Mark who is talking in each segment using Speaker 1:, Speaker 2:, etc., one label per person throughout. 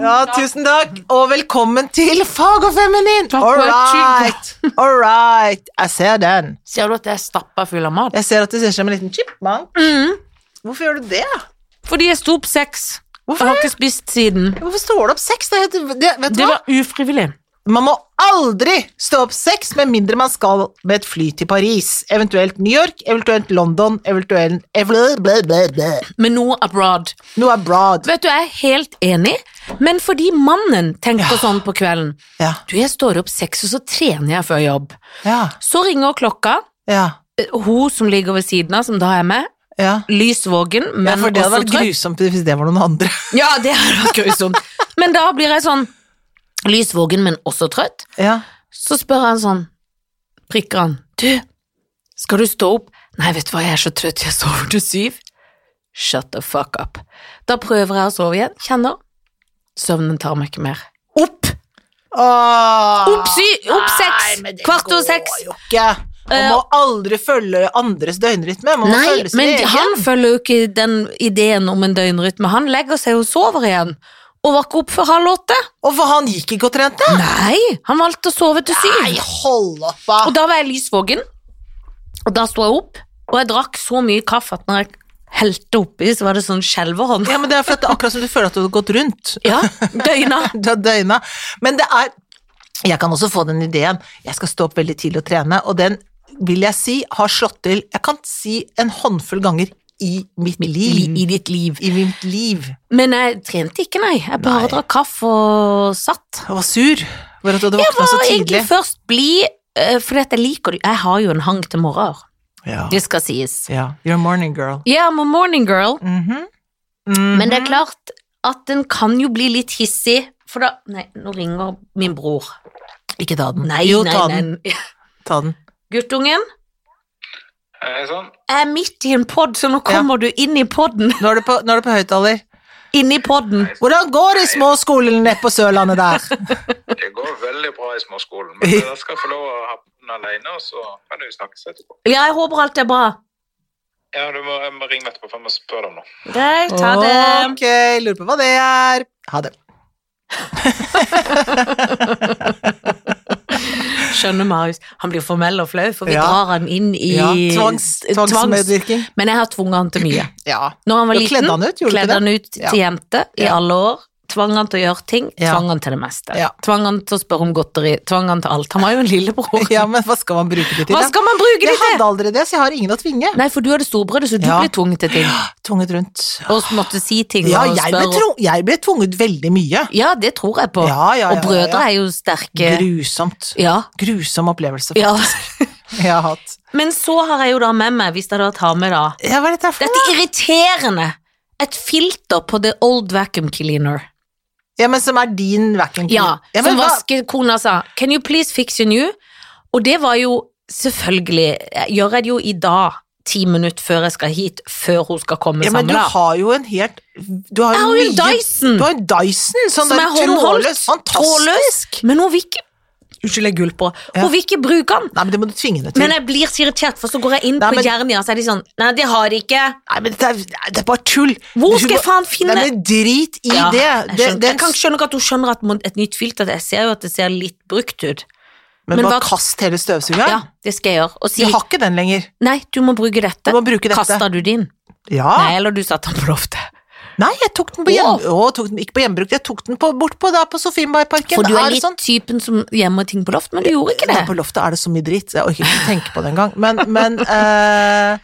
Speaker 1: Ja, tusen takk, og velkommen til Fag og feminin!
Speaker 2: Takk,
Speaker 1: All
Speaker 2: det er
Speaker 1: right, all right. Jeg ser den.
Speaker 2: Ser du at jeg er stappa full av mat?
Speaker 1: Jeg ser at du ser ut som en liten chipmunk. Hvorfor gjør du det?
Speaker 2: Mm. Fordi jeg sto opp seks. Jeg
Speaker 1: Hvorfor,
Speaker 2: har ikke spist siden.
Speaker 1: Hvorfor står du opp seks? Det, er helt- det, vet du
Speaker 2: Det
Speaker 1: hva?
Speaker 2: var ufrivillig.
Speaker 1: Man må aldri stå opp seks, med mindre man skal med et fly til Paris, eventuelt New York, eventuelt London, eventuelt evle- ble- ble- ble.
Speaker 2: Men noe abroad.
Speaker 1: Noe abroad.
Speaker 2: Vet du, jeg er helt enig, men fordi mannen tenker sånn på kvelden
Speaker 1: Ja,
Speaker 2: Du, jeg står opp seks, og så trener jeg før jobb.
Speaker 1: ja,
Speaker 2: Så ringer klokka.
Speaker 1: ja.
Speaker 2: Eh, Hun som ligger ved siden av, som da er med,
Speaker 1: ja.
Speaker 2: lysvåken, men
Speaker 1: ja for det hadde
Speaker 2: også
Speaker 1: vært
Speaker 2: trøtt.
Speaker 1: grusomt hvis det var noen andre.
Speaker 2: Ja, det hadde vært grusomt. Men da blir jeg sånn lysvåken, men også trøtt.
Speaker 1: Ja.
Speaker 2: Så spør han sånn, prikker han, du, skal du stå opp? Nei, vet du hva, jeg er så trøtt, jeg sover til syv. Shut the fuck up. Da prøver jeg å sove igjen, kjenner, søvnen tar meg ikke mer. Opp!
Speaker 1: Åh.
Speaker 2: Opp syv! Opp seks!
Speaker 1: Ah, men det
Speaker 2: Kvart over
Speaker 1: går
Speaker 2: seks! Eh,
Speaker 1: jo ikke. Man må aldri følge andres døgnrytme. Man må
Speaker 2: Nei,
Speaker 1: følge sin
Speaker 2: men
Speaker 1: egen.
Speaker 2: han følger jo ikke den ideen om en døgnrytme. Han legger seg og sover igjen, og var ikke opp før halv åtte.
Speaker 1: Og for han gikk ikke og trente?
Speaker 2: Nei, han valgte å sove til syv.
Speaker 1: Nei, hold opp, da!
Speaker 2: Og da var jeg lysvåken, og da sto jeg opp, og jeg drakk så mye kaffe at når jeg helte oppi, så var det sånn skjelverhånd.
Speaker 1: Ja, men det er for at det er akkurat som du føler at du har gått rundt.
Speaker 2: Ja, døgna.
Speaker 1: Du har døgna. Men det er Jeg kan også få den ideen. Jeg skal stå opp veldig tidlig og trene, og den vil jeg si har slått til Jeg kan si en håndfull ganger i mitt
Speaker 2: I,
Speaker 1: liv.
Speaker 2: I ditt liv.
Speaker 1: I mitt liv.
Speaker 2: Men jeg trente ikke, nei. Jeg bare
Speaker 1: Nei.
Speaker 2: drakk kaffe og satt.
Speaker 1: Jeg var sur for at du hadde våkna
Speaker 2: Jeg
Speaker 1: så
Speaker 2: var egentlig
Speaker 1: tidlig.
Speaker 2: først blid, eh, fordi at jeg liker det. Jeg har jo en hang til morgener.
Speaker 1: Ja.
Speaker 2: Det skal sies.
Speaker 1: ja. You're a morning girl.
Speaker 2: Ja, I'm a morning girl.
Speaker 1: Mhm.
Speaker 2: Men det er klart at den kan jo bli litt hissig, for da Nei, nå ringer min bror.
Speaker 1: Ikke ta den.
Speaker 2: Nei,
Speaker 1: jo,
Speaker 2: nei,
Speaker 1: ta
Speaker 2: nei.
Speaker 1: den. Ta den.
Speaker 2: Guttungen?
Speaker 3: Hei sann.
Speaker 2: Jeg er midt i en pod, så nå kommer du inn i podden.
Speaker 1: Nå er du på, nå er du på høyttaler.
Speaker 2: Inn i podden.
Speaker 1: Hvordan går det i småskolen nede på Sørlandet der?
Speaker 3: Det går veldig bra i småskolen, men dere skal få lov å ha den alene, og så kan du snakkes etterpå.
Speaker 2: Ja, jeg håper alt er bra.
Speaker 3: Ja, du må, jeg må ringe meg etterpå, for jeg må spørre deg om noe.
Speaker 2: Greit, ha det.
Speaker 1: Ok, lurer på hva det er. Ha det.
Speaker 2: Skjønner Marius. Han blir formell og flau, for vi
Speaker 1: Ja.
Speaker 2: drar han inn i eh,
Speaker 1: Ja, tvangs, tvangsmedvirkning.
Speaker 2: Men jeg har tvunget han til mye.
Speaker 1: Ja.
Speaker 2: Når han var
Speaker 1: Du
Speaker 2: liten,
Speaker 1: kledde han ut, gjorde du
Speaker 2: kledde
Speaker 1: ikke det?
Speaker 2: han ut
Speaker 1: Ja.
Speaker 2: til jente i
Speaker 1: Ja.
Speaker 2: alle år. Tvang han til å gjøre ting,
Speaker 1: Ja.
Speaker 2: tvang han til det meste.
Speaker 1: Ja.
Speaker 2: Tvang han til å spørre om godteri, tvang han til alt. Han var jo en lillebror.
Speaker 1: ja, men hva skal man bruke det til?
Speaker 2: Hva
Speaker 1: da?
Speaker 2: skal man bruke det
Speaker 1: Jeg hadde
Speaker 2: til?
Speaker 1: aldri det, så jeg har ingen å tvinge.
Speaker 2: Nei, for du hadde storebrødre, så du
Speaker 1: Ja.
Speaker 2: ble tvunget til ting.
Speaker 1: Tvunget rundt.
Speaker 2: Og måtte si ting
Speaker 1: Ja,
Speaker 2: og
Speaker 1: jeg
Speaker 2: spørre.
Speaker 1: ble, tro- jeg ble tvunget veldig mye.
Speaker 2: Ja, det tror jeg på.
Speaker 1: Ja, ja, ja,
Speaker 2: og brødre
Speaker 1: ja.
Speaker 2: er jo sterke.
Speaker 1: Grusomt.
Speaker 2: Ja.
Speaker 1: Grusom opplevelse
Speaker 2: ja.
Speaker 1: jeg har hatt.
Speaker 2: Men så har jeg jo da med meg, hvis jeg da tar med da
Speaker 1: Ja, hva er dette her for
Speaker 2: Dette
Speaker 1: noe?
Speaker 2: er irriterende! Et filter på the old vacuum cleaner.
Speaker 1: Ja, men som er din vacuum
Speaker 2: Ja,
Speaker 1: cleaner. Ja, men
Speaker 2: Som
Speaker 1: hva-
Speaker 2: vaskekona sa. Can you please fix your new? Og det var jo selvfølgelig Gjør jeg det jo i dag, ti minutter før jeg skal hit, før hun skal komme
Speaker 1: Ja, men
Speaker 2: sammen,
Speaker 1: du
Speaker 2: da.
Speaker 1: har jo en helt du har
Speaker 2: Jeg har jo en
Speaker 1: mye-
Speaker 2: Dyson.
Speaker 1: Du har en Dyson, sånn
Speaker 2: Som
Speaker 1: der
Speaker 2: er håndholdt,
Speaker 1: trådløs. Fantastisk!
Speaker 2: Men hun vil ikke Unnskyld, jeg gulper.
Speaker 1: Ja.
Speaker 2: Hun vil ikke bruke den.
Speaker 1: Nei, men det må du tvinge henne til.
Speaker 2: Men jeg blir så irritert, for så går jeg inn
Speaker 1: Nei,
Speaker 2: på
Speaker 1: men-
Speaker 2: Jernia, så er de sånn Nei, det har de ikke.
Speaker 1: Nei, men det er, det er bare tull.
Speaker 2: Hvor
Speaker 1: Du
Speaker 2: skal jeg
Speaker 1: bare-
Speaker 2: faen finne
Speaker 1: Nei, men drit i
Speaker 2: Ja,
Speaker 1: det.
Speaker 2: jeg,
Speaker 1: det, det
Speaker 2: skjønner. jeg kan ikke skjønne ikke at hun skjønner at må- et nytt filter Jeg ser jo at det ser litt brukt ut.
Speaker 1: men,
Speaker 2: men
Speaker 1: bare
Speaker 2: hva-
Speaker 1: kast hele støvsugeren.
Speaker 2: Ja, det skal jeg gjøre. Og si
Speaker 1: Vi har ikke den lenger.
Speaker 2: nei, du må bruke dette.
Speaker 1: Du må bruke dette. Ah.
Speaker 2: Kasta du din?
Speaker 1: Ja.
Speaker 2: Nei, eller du satte den på loftet.
Speaker 1: Nei, jeg tok den på hjem... Å, tok den, ikke på hjemmebruk, jeg tok den på, bort på, da, på Sofienbergparken.
Speaker 2: For du
Speaker 1: Da
Speaker 2: er
Speaker 1: det
Speaker 2: litt
Speaker 1: sånn-
Speaker 2: typen som gjemmer ting på loft, men du gjorde ikke
Speaker 1: Der
Speaker 2: det.
Speaker 1: på loftet er det så mye dritt, så jeg orker ikke tenke på det engang. Men, men eh,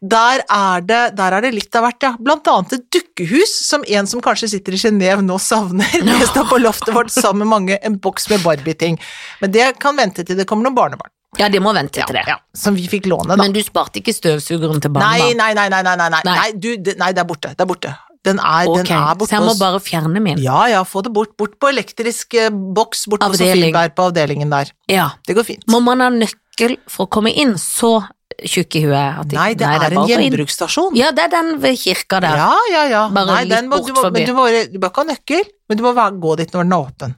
Speaker 1: der, er det, der er det litt av hvert, ja. Blant annet et dukkehus, som en som kanskje sitter i Genéve nå savner. Det står på loftet vårt sammen med mange, en boks med Barbie-ting. Men det kan vente til det kommer noen barnebarn,
Speaker 2: Ja, det må vente til det.
Speaker 1: ja, som vi fikk låne, da.
Speaker 2: Men du sparte ikke støvsugeren til
Speaker 1: Nei,
Speaker 2: barna?
Speaker 1: nei, nei, nei, nei, nei, nei,
Speaker 2: Nei.
Speaker 1: nei, du, det, nei, det er borte, det er borte. Den er,
Speaker 2: Ok,
Speaker 1: den er
Speaker 2: så
Speaker 1: borte
Speaker 2: jeg må
Speaker 1: hos-
Speaker 2: bare fjerne min.
Speaker 1: Ja, ja, få det bort, bort på elektrisk eh, boks, bort på
Speaker 2: Avdeling.
Speaker 1: Sofienberg på avdelingen der.
Speaker 2: Ja.
Speaker 1: Det går fint.
Speaker 2: Må man ha nøkkel for å komme inn, så tjukk i huet. At de-
Speaker 1: Nei, det er en
Speaker 2: bare å inn-
Speaker 1: gjenbruksstasjon.
Speaker 2: Ja, det er den ved kirka der. Ja,
Speaker 1: Ja, ja, ja.
Speaker 2: Bare
Speaker 1: Nei,
Speaker 2: litt
Speaker 1: den må, du,
Speaker 2: bort
Speaker 1: må,
Speaker 2: forbi.
Speaker 1: men du, må, du bør ikke ha nøkkel, men du må være, gå dit når den er åpen.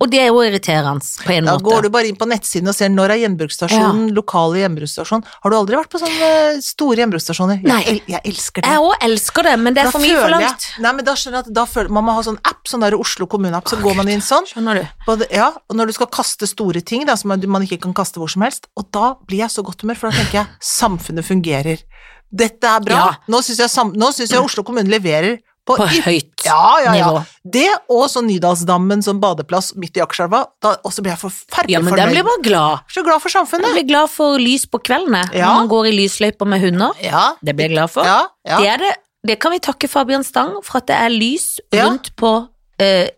Speaker 2: og det er jo irriterende, på en
Speaker 1: Da
Speaker 2: måte.
Speaker 1: går du bare inn på nettsiden og ser når er gjenbruksstasjonen, lokale gjenbruksstasjon. Har du aldri vært på sånne eh, store gjenbruksstasjoner?
Speaker 2: Nei.
Speaker 1: Jeg, el jeg elsker det.
Speaker 2: Jeg òg elsker det, men det er for mye for langt.
Speaker 1: Jeg, nei, men da skjønner jeg at da føler, man må ha sånn app, sånn der Oslo kommune-app, så går man inn sånn.
Speaker 2: Skjønner du?
Speaker 1: Både, ja, og når du skal kaste store ting, da, som man man ikke kan kaste hvor som helst, og da blir jeg så godt humør, for da tenker jeg samfunnet fungerer. Dette er bra.
Speaker 2: Ja.
Speaker 1: Nå syns jeg, sam- nå synes jeg Oslo kommune leverer på,
Speaker 2: På
Speaker 1: yt-
Speaker 2: høyt
Speaker 1: ja, ja, ja.
Speaker 2: nivå.
Speaker 1: Det og så Nydalsdammen som badeplass midt i Akerselva, da også blir jeg forferdelig
Speaker 2: Ja, men den
Speaker 1: fornøyd.
Speaker 2: blir bare glad.
Speaker 1: Så glad for
Speaker 2: Jeg
Speaker 1: samfunnet.
Speaker 2: blir glad for lys på kveldene
Speaker 1: Ja.
Speaker 2: når man går i lysløyper med hunder.
Speaker 1: Ja,
Speaker 2: Det blir jeg glad for.
Speaker 1: ja, ja.
Speaker 2: Det, er det, det kan vi takke Fabian Stang for at det er lys
Speaker 1: Ja.
Speaker 2: rundt på eh,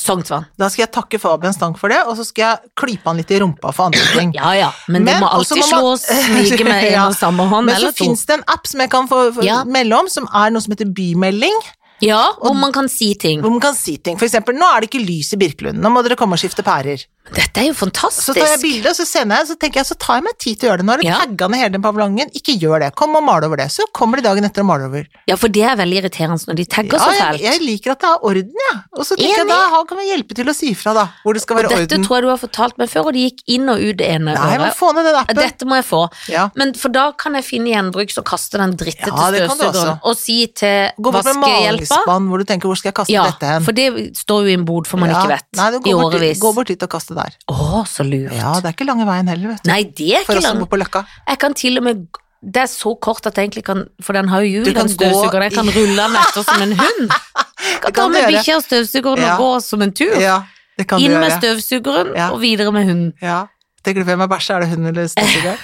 Speaker 2: Sognsvann.
Speaker 1: Da skal jeg takke Fabian Stank for det, og så skal jeg klype han litt i rumpa for andre ting.
Speaker 2: Ja ja, men, det
Speaker 1: Men
Speaker 2: må
Speaker 1: også
Speaker 2: alltid
Speaker 1: må man-
Speaker 2: slås like med en
Speaker 1: Ja.
Speaker 2: og samme hånd
Speaker 1: Men så
Speaker 2: eller to.
Speaker 1: fins det en app som jeg kan få, få
Speaker 2: Ja.
Speaker 1: melde om, som er noe som heter Bymelding.
Speaker 2: Ja, hvor man kan si ting.
Speaker 1: Hvor man kan si ting. For eksempel, nå er det ikke lys i Birkelund, nå må dere komme og skifte pærer.
Speaker 2: Dette er jo fantastisk.
Speaker 1: Så tar jeg bilde, og så sender jeg, så tenker jeg, så tar jeg meg tid til å gjøre det. Nå har du
Speaker 2: Ja.
Speaker 1: tagga ned hele den paviljongen, ikke gjør det. Kom og mal over det. Så kommer de dagen etter og maler over.
Speaker 2: Ja, for det er veldig irriterende når de tagger
Speaker 1: Ja,
Speaker 2: så
Speaker 1: jeg,
Speaker 2: fælt.
Speaker 1: jeg liker at det er orden, jeg. Og så tenker jeg
Speaker 2: Enig.
Speaker 1: da, han kan vel hjelpe til å si ifra, da. Hvor det skal
Speaker 2: Og
Speaker 1: være
Speaker 2: dette
Speaker 1: orden.
Speaker 2: tror jeg du har fortalt meg før, og det gikk inn og ut det ene
Speaker 1: Nei, men
Speaker 2: øret.
Speaker 1: få ned den appen.
Speaker 2: Dette må jeg få.
Speaker 1: Ja.
Speaker 2: Men for da kan jeg finne gjenbruks og kaste den drittete
Speaker 1: Ja, det kan du også.
Speaker 2: støvsugeren, og si til
Speaker 1: Gå bort med
Speaker 2: vaskehjelpa
Speaker 1: malingsspann, hvor du tenker, hvor skal jeg kaste
Speaker 2: Ja,
Speaker 1: dette hen?
Speaker 2: for det står jo i en bod for man
Speaker 1: Ja.
Speaker 2: ikke vet,
Speaker 1: Nei, du
Speaker 2: i
Speaker 1: går bort,
Speaker 2: årevis.
Speaker 1: Gå bort dit og kaste der.
Speaker 2: Å, så lurt.
Speaker 1: Ja, det er ikke lange veien heller, vet du.
Speaker 2: Nei, det er
Speaker 1: For
Speaker 2: ikke
Speaker 1: oss som
Speaker 2: langt.
Speaker 1: bor på Løkka.
Speaker 2: Jeg kan til og med Det er så kort at jeg egentlig kan For den har jo hjul,
Speaker 1: Du kan
Speaker 2: den støvsugeren. Jeg
Speaker 1: gå
Speaker 2: kan
Speaker 1: i-
Speaker 2: rulle den etter som en hund. Jeg
Speaker 1: Det
Speaker 2: kan ta
Speaker 1: kan du
Speaker 2: med
Speaker 1: gjøre.
Speaker 2: bikkja og støvsugeren
Speaker 1: Ja.
Speaker 2: og gå som en tur.
Speaker 1: Ja, det kan
Speaker 2: Inn
Speaker 1: du
Speaker 2: med
Speaker 1: gjøre.
Speaker 2: støvsugeren
Speaker 1: Ja.
Speaker 2: og videre med hunden.
Speaker 1: Ja. Tenker du hvem er bæsja, er det hun eller støvsugeren?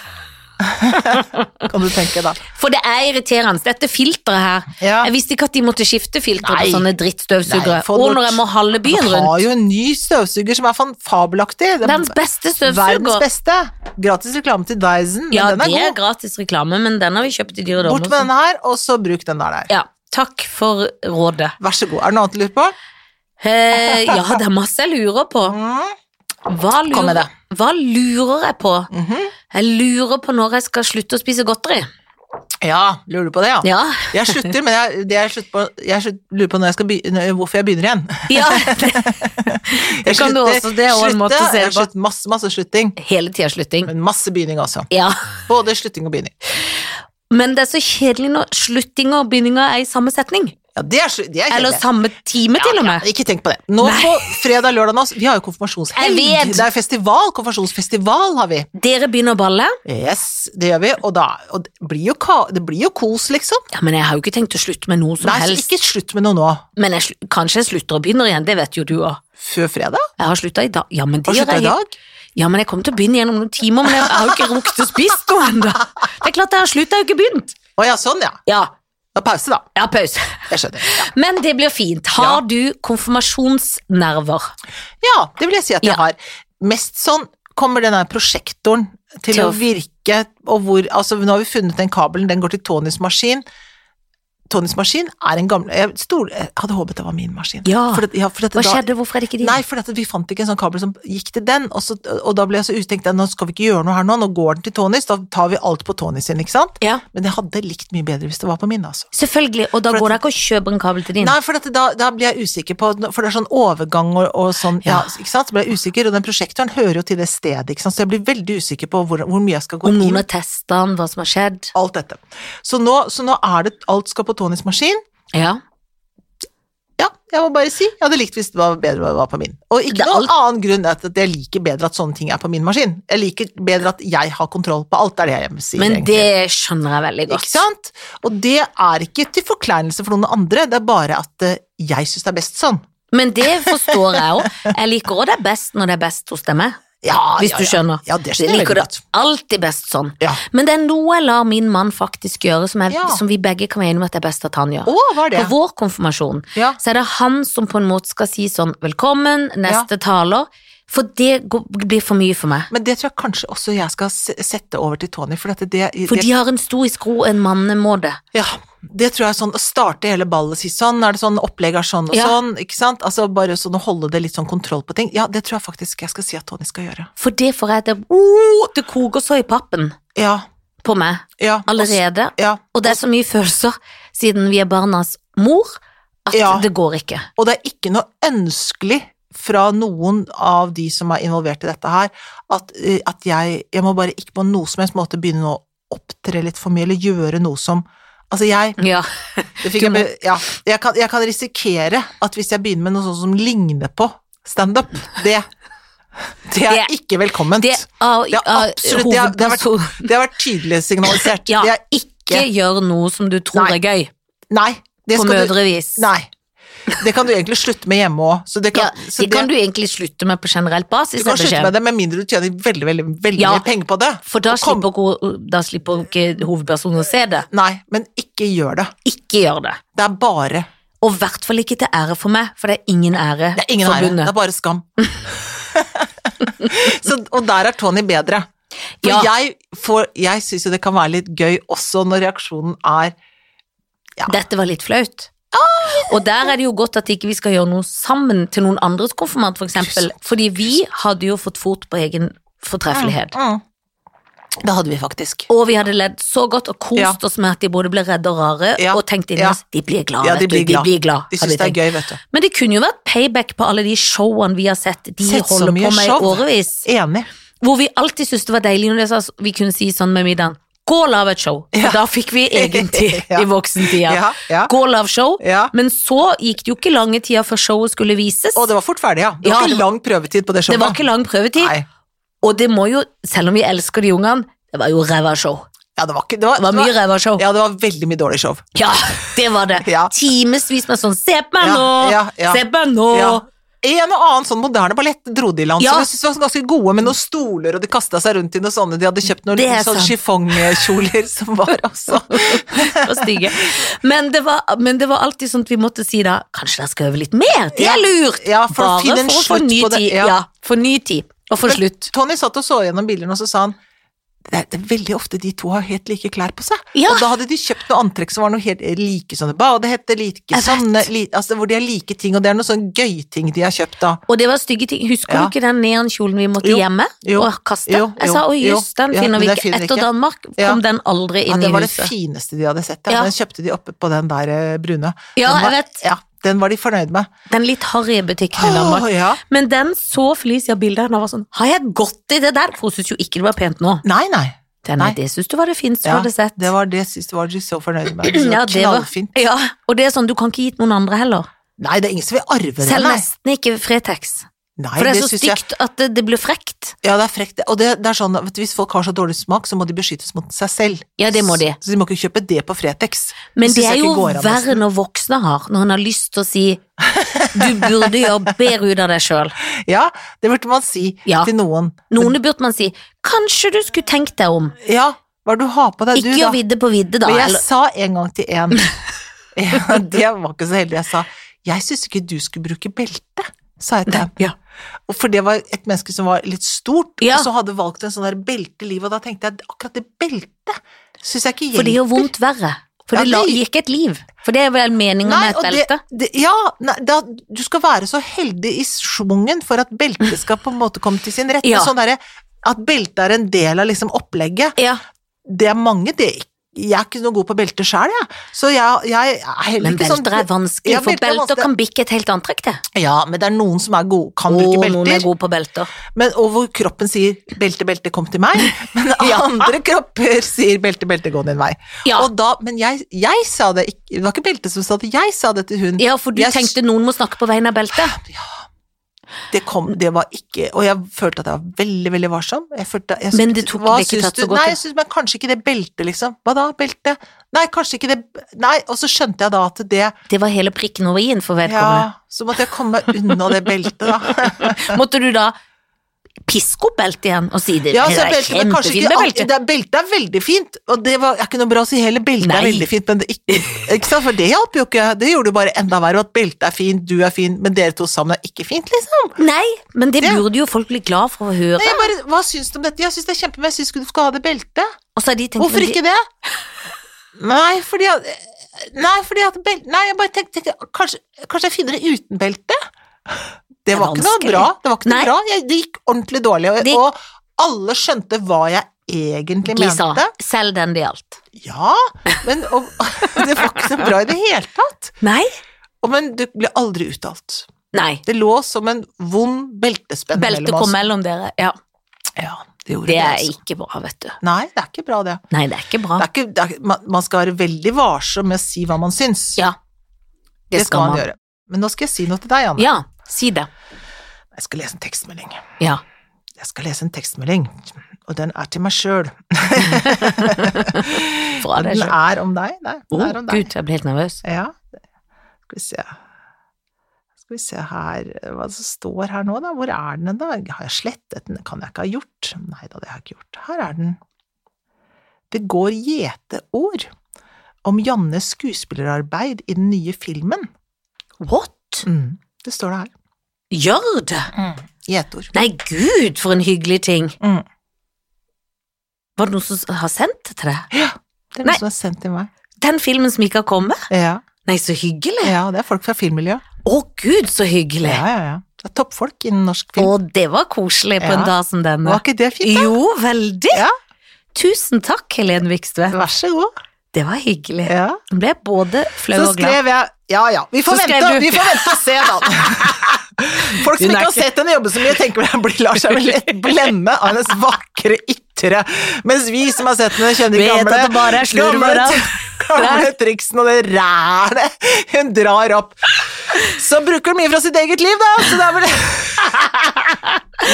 Speaker 1: kan du tenke da.
Speaker 2: For det er irriterende. Dette filteret her
Speaker 1: Ja.
Speaker 2: Jeg visste ikke at de måtte skifte filter
Speaker 1: Nei.
Speaker 2: på sånne
Speaker 1: Nei,
Speaker 2: drittstøvsugere.
Speaker 1: få
Speaker 2: Og
Speaker 1: bort-
Speaker 2: når jeg må halve byen
Speaker 1: Han har
Speaker 2: rundt.
Speaker 1: jo en ny støvsuger som er fan- fabelaktig. Det er
Speaker 2: Verdens beste
Speaker 1: verdens
Speaker 2: støvsuger.
Speaker 1: beste. Gratis reklame til Dyson, men
Speaker 2: Ja,
Speaker 1: den
Speaker 2: det
Speaker 1: er
Speaker 2: er
Speaker 1: god.
Speaker 2: gratis reklame, men den har vi kjøpt i dyre
Speaker 1: Bort med
Speaker 2: dommer.
Speaker 1: denne her, og så bruk den der der.
Speaker 2: Ja, takk for rådet.
Speaker 1: Vær så god. Er det noe annet du lurer på?
Speaker 2: Eh, ja, det er masse jeg lurer på.
Speaker 1: Mm.
Speaker 2: Hva
Speaker 1: Kom med
Speaker 2: lurer, hva lurer jeg på?
Speaker 1: Mhm.
Speaker 2: Jeg lurer på når jeg skal slutte å spise godteri.
Speaker 1: Ja, lurer du på det, ja?
Speaker 2: Ja,
Speaker 1: Jeg slutter, men jeg, det jeg, slutter på, jeg slutt, lurer på når jeg skal begynne, hvorfor jeg begynner igjen.
Speaker 2: ja. det kan du også. Det er også en måte å se
Speaker 1: jeg
Speaker 2: det på.
Speaker 1: slutter masse, masse slutting,
Speaker 2: Hele tida slutting.
Speaker 1: men masse begynning også.
Speaker 2: Ja.
Speaker 1: Både slutting og begynning.
Speaker 2: Men det er så kjedelig når sluttinga og begynninga er i samme setning.
Speaker 1: Ja, det er, slu- det er
Speaker 2: Eller
Speaker 1: kjedelig.
Speaker 2: samme time, til og med.
Speaker 1: Ikke tenk på det. Nå
Speaker 2: Nei.
Speaker 1: på fredag, lørdag, nå, vi har jo
Speaker 2: Jeg
Speaker 1: konfirmasjonshelg.
Speaker 2: vet.
Speaker 1: Det er festival, konfirmasjonsfestival har vi.
Speaker 2: Dere begynner å balle.
Speaker 1: Yes, det gjør vi, og, da, og det, blir jo, ka- det blir jo kos, liksom.
Speaker 2: Ja, Men jeg har jo ikke tenkt å slutte med noe som
Speaker 1: Nei, så
Speaker 2: helst.
Speaker 1: ikke slutt med noe nå.
Speaker 2: Men jeg, slu- kanskje jeg slutter og begynner igjen, det vet jo du òg.
Speaker 1: Før fredag?
Speaker 2: Jeg har slutta i dag. Ja, men det
Speaker 1: Har du
Speaker 2: gjør
Speaker 1: slutta
Speaker 2: jeg
Speaker 1: i dag?
Speaker 2: Ja, men jeg kommer til å begynne igjen om noen timer, men jeg har jo ikke rukket å spise noe ennå. Det er klart jeg har slutta, jeg har jo ikke begynt.
Speaker 1: Å ja, sånn ja.
Speaker 2: Ja,
Speaker 1: Da pause, da.
Speaker 2: jeg har pause.
Speaker 1: Jeg skjønner. Ja,
Speaker 2: Men det blir fint. Har du konfirmasjonsnerver?
Speaker 1: ja det vil jeg si at jeg
Speaker 2: Ja.
Speaker 1: har. Mest sånn kommer den der prosjektoren til,
Speaker 2: Til
Speaker 1: å
Speaker 2: å-
Speaker 1: virke, og hvor Altså, nå har vi funnet den kabelen, den går til Tonys maskin. Tonys maskin er en gammel Jeg, stol, jeg hadde håpet det var min maskin.
Speaker 2: Ja.
Speaker 1: For, at- ja, for at
Speaker 2: Hva
Speaker 1: da-
Speaker 2: skjedde, hvorfor er det ikke de?
Speaker 1: Nei, for dette, vi fant ikke en sånn kabel som gikk til den, og, så, og da ble jeg så utenkt, nå skal vi ikke gjøre noe her nå, nå går den til Tonys, da tar vi alt på Tonys sin, ikke sant?
Speaker 2: Ja,
Speaker 1: Men jeg hadde likt mye bedre hvis det var på min, altså.
Speaker 2: selvfølgelig, og da
Speaker 1: For at-
Speaker 2: går det ikke å kjøpe en kabel til din.
Speaker 1: Nei, for dette, da, da blir jeg usikker på, for det er sånn overgang og, og sånn, ja.
Speaker 2: Ja.
Speaker 1: ikke sant? Så blir jeg usikker, og den prosjektoren hører jo til det stedet, ikke sant? Så jeg blir veldig usikker på hvor, hvor mye jeg skal gå
Speaker 2: Om
Speaker 1: inn,
Speaker 2: noen har testa den, hva som har skjedd.
Speaker 1: alt dette. Så nå, så nå er det, alt skal på Tonys maskin,
Speaker 2: Ja.
Speaker 1: Ja, jeg må bare si. Jeg hadde likt hvis det var bedre å være på min. Og
Speaker 2: Det
Speaker 1: ikke
Speaker 2: er
Speaker 1: noen
Speaker 2: alt-
Speaker 1: annen grunn enn at jeg liker bedre at sånne ting er på min maskin. Jeg liker bedre at jeg har kontroll på alt, det er det jeg sier.
Speaker 2: Men
Speaker 1: egentlig.
Speaker 2: det skjønner jeg veldig
Speaker 1: Ikke
Speaker 2: godt.
Speaker 1: sant? Og det er ikke til forkleinelse for noen andre, det er bare at eh, jeg syns det er best sånn.
Speaker 2: Men det forstår jeg òg. Jeg liker òg det best når det er best hos dem. jeg.
Speaker 1: Ja,
Speaker 2: Hvis
Speaker 1: ja,
Speaker 2: du
Speaker 1: ja.
Speaker 2: skjønner.
Speaker 1: Ja, det
Speaker 2: Jeg
Speaker 1: skjønner jeg
Speaker 2: liker
Speaker 1: veldig
Speaker 2: det
Speaker 1: godt.
Speaker 2: alltid best sånn.
Speaker 1: Ja.
Speaker 2: Men det er noe jeg lar min mann faktisk gjøre, som, jeg,
Speaker 1: Ja.
Speaker 2: som vi begge kan være enige om at det er best at han gjør.
Speaker 1: Å, hva er det?
Speaker 2: På vår konfirmasjon
Speaker 1: Ja.
Speaker 2: så er det han som på en måte skal si sånn velkommen, neste taler, for det går, blir for mye for meg.
Speaker 1: Men det tror jeg kanskje også jeg skal se- sette over til Tony, for dette, det,
Speaker 2: For
Speaker 1: det
Speaker 2: de har en stoisk ro, en mannemåte.
Speaker 1: Ja, det tror jeg er sånn å starte hele ballet og si sånn, er det sånn, opplegg er sånn og
Speaker 2: Ja.
Speaker 1: sånn, ikke sant? Altså bare sånn å holde det litt sånn kontroll på ting. Ja, det tror jeg faktisk jeg skal si at Tony skal gjøre.
Speaker 2: For det får jeg til å- oh, Det koker så i pappen.
Speaker 1: Ja,
Speaker 2: på meg
Speaker 1: Ja, og s-
Speaker 2: allerede.
Speaker 1: Ja,
Speaker 2: Og det er så mye følelser siden vi er barnas mor, at
Speaker 1: Ja.
Speaker 2: det går ikke.
Speaker 1: og det er ikke noe ønskelig fra noen av de som er involvert i dette her, at, eh, at jeg, jeg må bare ikke på noe som helst måte begynne å opptre litt for mye, eller gjøre noe som Altså jeg,
Speaker 2: Ja.
Speaker 1: det fikk
Speaker 2: Du
Speaker 1: jeg, be- ja, jeg, kan, jeg kan risikere at hvis jeg begynner med noe sånt som ligner på standup, det, det er
Speaker 2: Det-
Speaker 1: ikke velkomment.
Speaker 2: Det,
Speaker 1: Det,
Speaker 2: av,
Speaker 1: Det er
Speaker 2: av
Speaker 1: absolutt- det har- det har vært-
Speaker 2: hovedperson-
Speaker 1: har vært tydelig signalisert.
Speaker 2: Ja,
Speaker 1: Det er
Speaker 2: Ikke
Speaker 1: ikke
Speaker 2: gjør noe som du tror
Speaker 1: Nei.
Speaker 2: er gøy,
Speaker 1: Nei. Det
Speaker 2: på
Speaker 1: skal du,
Speaker 2: mødrevis.
Speaker 1: nei. Det kan du egentlig slutte med hjemme òg. Det
Speaker 2: Ja,
Speaker 1: kan, så
Speaker 2: det kan du egentlig slutte med på generelt basis.
Speaker 1: Du kan
Speaker 2: er
Speaker 1: slutte
Speaker 2: beskjeden.
Speaker 1: med det med mindre du tjener veldig veldig, veldig
Speaker 2: Ja.
Speaker 1: mye penger på det.
Speaker 2: For da
Speaker 1: Og kom-
Speaker 2: slipper, ko- da slipper ikke hovedpersonen å se det.
Speaker 1: Nei, men ikke gjør det.
Speaker 2: Ikke gjør det.
Speaker 1: Det er bare
Speaker 2: Og i hvert fall ikke til ære for meg, for det er ingen ære
Speaker 1: Det er ingen ære. Det
Speaker 2: forbundet.
Speaker 1: er bare skam. så, og der er Tony bedre. For
Speaker 2: Ja.
Speaker 1: jeg, får- jeg syns jo det kan være litt gøy også når reaksjonen er Ja.
Speaker 2: Dette var litt flaut. Og der er det jo godt at ikke vi skal gjøre noe sammen til noen andres konfirmant, for eksempel. Fordi vi hadde jo fått fot på egen fortreffelighet.
Speaker 1: mm. Det hadde vi faktisk.
Speaker 2: Og vi hadde ledd så godt og kost
Speaker 1: Ja.
Speaker 2: oss med at de både ble redde og rare,
Speaker 1: Ja.
Speaker 2: og tenkte inni
Speaker 1: Ja.
Speaker 2: oss de blir glad,
Speaker 1: Ja, de
Speaker 2: vet du.
Speaker 1: blir glad.
Speaker 2: De blir glad.
Speaker 1: De
Speaker 2: hadde
Speaker 1: syns det
Speaker 2: tenkt.
Speaker 1: er gøy, vet du.
Speaker 2: Men det kunne jo vært payback på alle de showene vi har sett de
Speaker 1: Sett så
Speaker 2: holder
Speaker 1: mye
Speaker 2: på med
Speaker 1: show.
Speaker 2: i årevis.
Speaker 1: Enig.
Speaker 2: Hvor vi alltid syntes det var deilig når det sa, vi kunne si sånn med middagen Gå og lag et show.
Speaker 1: Ja.
Speaker 2: For da fikk vi egen tid
Speaker 1: Ja.
Speaker 2: i voksentida.
Speaker 1: Ja, ja.
Speaker 2: Gå og lag show.
Speaker 1: Ja.
Speaker 2: Men så gikk det jo ikke lange tida før showet skulle vises.
Speaker 1: Og det var fort ferdig, ja. Det var
Speaker 2: Ja,
Speaker 1: ikke
Speaker 2: det var-
Speaker 1: lang prøvetid på det
Speaker 2: Det
Speaker 1: showet.
Speaker 2: var ikke lang prøvetid.
Speaker 1: Nei.
Speaker 2: Og det må jo, selv om vi elsker de ungene, det var jo ræva show.
Speaker 1: Ja, det var ikke Det var,
Speaker 2: Det var
Speaker 1: det var-
Speaker 2: mye ræva show. Ja.
Speaker 1: Ja, det var veldig mye dårlig show.
Speaker 2: det var det.
Speaker 1: Ja.
Speaker 2: Timevis med sånn Se på meg
Speaker 1: Ja,
Speaker 2: nå!
Speaker 1: ja, ja.
Speaker 2: Se på meg nå!
Speaker 1: Ja. En og annen sånn moderne ballett dro de i land,
Speaker 2: Ja.
Speaker 1: som jeg synes var ganske gode, med noen stoler, og de kasta seg rundt i noen sånne, de hadde kjøpt noen
Speaker 2: Det er
Speaker 1: sånne
Speaker 2: sant.
Speaker 1: chiffongkjoler som var også
Speaker 2: og stygge. Men det, var, men det var alltid sånn at vi måtte si da Kanskje dere skal øve litt mer? Det
Speaker 1: Ja.
Speaker 2: er lurt!
Speaker 1: Ja, for å
Speaker 2: Bare
Speaker 1: finne en
Speaker 2: for å få
Speaker 1: slutt
Speaker 2: ny
Speaker 1: på det,
Speaker 2: tid.
Speaker 1: ja.
Speaker 2: Ja. for ny tid. Og for
Speaker 1: Men
Speaker 2: slutt.
Speaker 1: Tony satt og så gjennom bildene, og så sa han det er, det er veldig ofte de to har helt like klær på seg.
Speaker 2: Ja.
Speaker 1: Og da hadde de kjøpt noe antrekk som var noe helt like sånne badehetter, like
Speaker 2: vet.
Speaker 1: sånne li, altså Hvor de har like ting, og det er noen sånne gøyting de har kjøpt da.
Speaker 2: Og det var stygge ting. Husker
Speaker 1: Ja.
Speaker 2: du ikke den neonkjolen vi måtte
Speaker 1: Jo,
Speaker 2: hjemme
Speaker 1: jo,
Speaker 2: og kaste?
Speaker 1: jo,
Speaker 2: jeg sa
Speaker 1: jo,
Speaker 2: å jøss,
Speaker 1: jo,
Speaker 2: den
Speaker 1: ja,
Speaker 2: finner vi
Speaker 1: den
Speaker 2: ikke.
Speaker 1: finner vi
Speaker 2: Etter
Speaker 1: ikke.
Speaker 2: Danmark kom
Speaker 1: Ja.
Speaker 2: den aldri
Speaker 1: Ja,
Speaker 2: inn
Speaker 1: det
Speaker 2: i
Speaker 1: var det
Speaker 2: huset.
Speaker 1: fineste de hadde sett. Ja.
Speaker 2: Ja.
Speaker 1: Den kjøpte de oppe på den der eh, brune.
Speaker 2: Ja,
Speaker 1: den
Speaker 2: jeg
Speaker 1: var,
Speaker 2: vet.
Speaker 1: Ja, den var de fornøyd med.
Speaker 2: Den litt harry butikken i Danmark.
Speaker 1: Åh, ja.
Speaker 2: Men den så Felicia bildet av henne og var sånn Har jeg gått i det der? For hun syntes jo ikke det var pent nå.
Speaker 1: Nei, nei.
Speaker 2: Den,
Speaker 1: Nei.
Speaker 2: Det syntes du var det fineste du
Speaker 1: Ja,
Speaker 2: hadde sett.
Speaker 1: Det var det jeg synes det var de så fornøyd med. Det var
Speaker 2: Ja, det var-
Speaker 1: knallfint.
Speaker 2: Ja, og det er sånn, du kan ikke gi til noen andre heller.
Speaker 1: Nei, det er ingen som vil arve det,
Speaker 2: Selv
Speaker 1: nei.
Speaker 2: nesten ikke Fretex.
Speaker 1: nei
Speaker 2: For det er så
Speaker 1: synes
Speaker 2: stygt at det, det blir frekt.
Speaker 1: Jeg, ja, det er frekt. Og det, det er sånn at hvis folk har så dårlig smak, så må de beskyttes mot seg selv.
Speaker 2: Ja, det må de.
Speaker 1: Så de må ikke kjøpe det på Fretex.
Speaker 2: Men
Speaker 1: synes
Speaker 2: det er
Speaker 1: jeg
Speaker 2: jo
Speaker 1: ikke går an, altså.
Speaker 2: verre
Speaker 1: nesten.
Speaker 2: når voksne har, når en har lyst til å si du burde gjøre bedre ut av deg sjøl.
Speaker 1: Ja, det burde man si
Speaker 2: Ja.
Speaker 1: til noen.
Speaker 2: Noen burde man si kanskje du skulle tenkt deg om.
Speaker 1: Ja, hva er det du har på deg,
Speaker 2: Ikke
Speaker 1: du, da?
Speaker 2: gjør vidde på vidde, da.
Speaker 1: Men jeg
Speaker 2: Eller,
Speaker 1: sa en gang til en ja, Det var ikke så heldig. Jeg sa jeg syns ikke du skulle bruke belte, sa jeg til ham.
Speaker 2: ja.
Speaker 1: Og For det var et menneske som var litt stort,
Speaker 2: Ja.
Speaker 1: og så hadde valgt en sånn der belteliv, og da tenkte jeg akkurat det beltet syns jeg ikke
Speaker 2: For
Speaker 1: hjelper.
Speaker 2: det gjør vondt verre. For
Speaker 1: Ja,
Speaker 2: det la-
Speaker 1: det-
Speaker 2: gir ikke et liv. For det er vel meninga
Speaker 1: Nei,
Speaker 2: med et
Speaker 1: og det-
Speaker 2: belte.
Speaker 1: Det, ja, nei, da, du skal være så heldig i schwungen for at beltet skal på en måte komme til sin rette.
Speaker 2: Ja.
Speaker 1: Sånn derre at beltet er en del av liksom opplegget,
Speaker 2: Ja,
Speaker 1: det er mange det Jeg er ikke noe god på belte sjøl, jeg. Så jeg, jeg er heller
Speaker 2: men
Speaker 1: ikke sånn
Speaker 2: belter er vanskelig,
Speaker 1: Ja,
Speaker 2: for
Speaker 1: belter er
Speaker 2: belter
Speaker 1: vanskelig.
Speaker 2: kan bikke et helt antrekk, det.
Speaker 1: Ja, men det er noen som er gode, kan
Speaker 2: Å,
Speaker 1: bruke
Speaker 2: noen er
Speaker 1: belter.
Speaker 2: gode på belter.
Speaker 1: Men, og hvor kroppen sier 'belte, belte, kom til meg', men andre kropper sier 'belte, belte, gå din vei'.
Speaker 2: Ja.
Speaker 1: Og da, men jeg, jeg sa det ikke, det var ikke belte som sa det, jeg sa det til hun.
Speaker 2: Ja, for du
Speaker 1: Jeg-
Speaker 2: tenkte noen må snakke på vegne av beltet.
Speaker 1: Det kom, det var ikke Og jeg følte at jeg var veldig, veldig varsom. Jeg følte, jeg
Speaker 2: Men
Speaker 1: syntes-
Speaker 2: det tok
Speaker 1: hva
Speaker 2: det ikke
Speaker 1: syns
Speaker 2: tatt så
Speaker 1: du?
Speaker 2: godt
Speaker 1: Nei,
Speaker 2: til.
Speaker 1: jeg syns, men kanskje ikke det beltet, liksom. Hva da, belte? Nei, kanskje ikke det Nei, og så skjønte jeg da at det
Speaker 2: Det var hele prikken over i-en for
Speaker 1: Ja,
Speaker 2: vedkommende.
Speaker 1: så måtte jeg komme unna det beltet, da.
Speaker 2: Måtte du da piske opp beltet igjen og si det?
Speaker 1: Ja,
Speaker 2: det
Speaker 1: så er
Speaker 2: er
Speaker 1: beltet, men kanskje
Speaker 2: kjempefint
Speaker 1: ikke
Speaker 2: med
Speaker 1: alt-
Speaker 2: belte.
Speaker 1: det er- Beltet er veldig fint, og det var, er ikke noe bra å si heller. Beltet er
Speaker 2: Nei.
Speaker 1: veldig fint, men det, ikke, ikke sant? for det hjalp jo ikke. Det gjorde jo bare enda verre. At beltet er fint, du er fin, men dere to sammen er ikke fint, liksom.
Speaker 2: Nei, men det
Speaker 1: Ja.
Speaker 2: burde jo folk bli glad for å
Speaker 1: Nei,
Speaker 2: høre.
Speaker 1: jeg bare, hva syns du om dette? Jeg syns det er kjempebra, jeg syns ikke du skal ha det beltet.
Speaker 2: Og så har de tenkt
Speaker 1: Hvorfor
Speaker 2: men de-
Speaker 1: ikke det? Nei, fordi at Nei, fordi at bel- Nei, jeg bare tenkte tenkte, kanskje, kanskje jeg finner det uten belte? Det
Speaker 2: er
Speaker 1: var ikke noe
Speaker 2: vanskelig.
Speaker 1: bra. Det var ikke noe
Speaker 2: Nei.
Speaker 1: bra. Jeg, det gikk ordentlig dårlig, og,
Speaker 2: Det-
Speaker 1: og alle skjønte hva jeg egentlig
Speaker 2: Lisa,
Speaker 1: mente.
Speaker 2: selg den det gjaldt.
Speaker 1: Ja, men og, det var ikke så bra i det hele tatt.
Speaker 2: Nei?
Speaker 1: Og, men det ble aldri uttalt.
Speaker 2: Nei.
Speaker 1: Det lå som en vond beltespenn
Speaker 2: Beltet
Speaker 1: mellom
Speaker 2: kom
Speaker 1: oss.
Speaker 2: mellom dere. Ja,
Speaker 1: Ja, det gjorde det.
Speaker 2: det er
Speaker 1: altså.
Speaker 2: ikke bra, vet du.
Speaker 1: Nei, det er ikke bra, det.
Speaker 2: Nei, det er ikke bra.
Speaker 1: det, er ikke, det er, ikke- man, man skal være veldig varsom med å si hva man syns.
Speaker 2: Ja. Det,
Speaker 1: det skal man gjøre. Men nå skal jeg si noe til deg, Anne.
Speaker 2: Ja, si det.
Speaker 1: Jeg skal lese en tekstmelding.
Speaker 2: Ja.
Speaker 1: Jeg skal lese en tekstmelding, og den er til meg sjøl.
Speaker 2: Fra deg
Speaker 1: Den
Speaker 2: selv.
Speaker 1: er om deg. Nei,
Speaker 2: Å,
Speaker 1: den er om deg.
Speaker 2: gud, jeg blir helt nervøs.
Speaker 1: Ja, skal vi se. Skal vi se her, hva som står her nå da, hvor er den da? Har jeg slettet den? Kan jeg ikke ha gjort? Nei da, det har jeg ikke gjort. Her er den. Det går gjeteår om Jannes skuespillerarbeid i den nye filmen.
Speaker 2: What?
Speaker 1: Mm, det står det her.
Speaker 2: Gjør det?
Speaker 1: Gjeteår.
Speaker 2: Nei, gud, for en hyggelig ting.
Speaker 1: Mm.
Speaker 2: Var det noen som har sendt det til deg?
Speaker 1: Det er
Speaker 2: Nei.
Speaker 1: noe som er sendt til meg.
Speaker 2: Den filmen som ikke har kommet?
Speaker 1: Ja,
Speaker 2: Nei, så hyggelig.
Speaker 1: ja det er folk fra filmmiljøet.
Speaker 2: Å gud, så
Speaker 1: Ja,
Speaker 2: hyggelig.
Speaker 1: ja, ja. Det er toppfolk innen norsk
Speaker 2: Å,
Speaker 1: film.
Speaker 2: det var koselig på
Speaker 1: Ja.
Speaker 2: en dag som denne.
Speaker 1: Var ikke det fint?
Speaker 2: Jo, veldig.
Speaker 1: Ja.
Speaker 2: Tusen takk, Helen Vikstvedt.
Speaker 1: Vær så god.
Speaker 2: Det var hyggelig.
Speaker 1: Ja.
Speaker 2: Nå ble jeg både flau
Speaker 1: Så
Speaker 2: og glad.
Speaker 1: skrev jeg Ja ja, vi får,
Speaker 2: Så skrev
Speaker 1: vente,
Speaker 2: du-
Speaker 1: vi får vente og se, da. Folk som
Speaker 2: Hun er
Speaker 1: ikke har
Speaker 2: ikke-
Speaker 1: sett henne jobbe så mye, tenker vel blir lar seg vel lett blende av hennes vakre ytre. Mens vi som har sett henne, kjenner de
Speaker 2: Vet at
Speaker 1: gamle,
Speaker 2: det bare er slurv og
Speaker 1: gamle,
Speaker 2: rav.
Speaker 1: gamle triksene og det rælet hun drar opp. Så bruker hun mye fra sitt eget liv, da. Så det er vel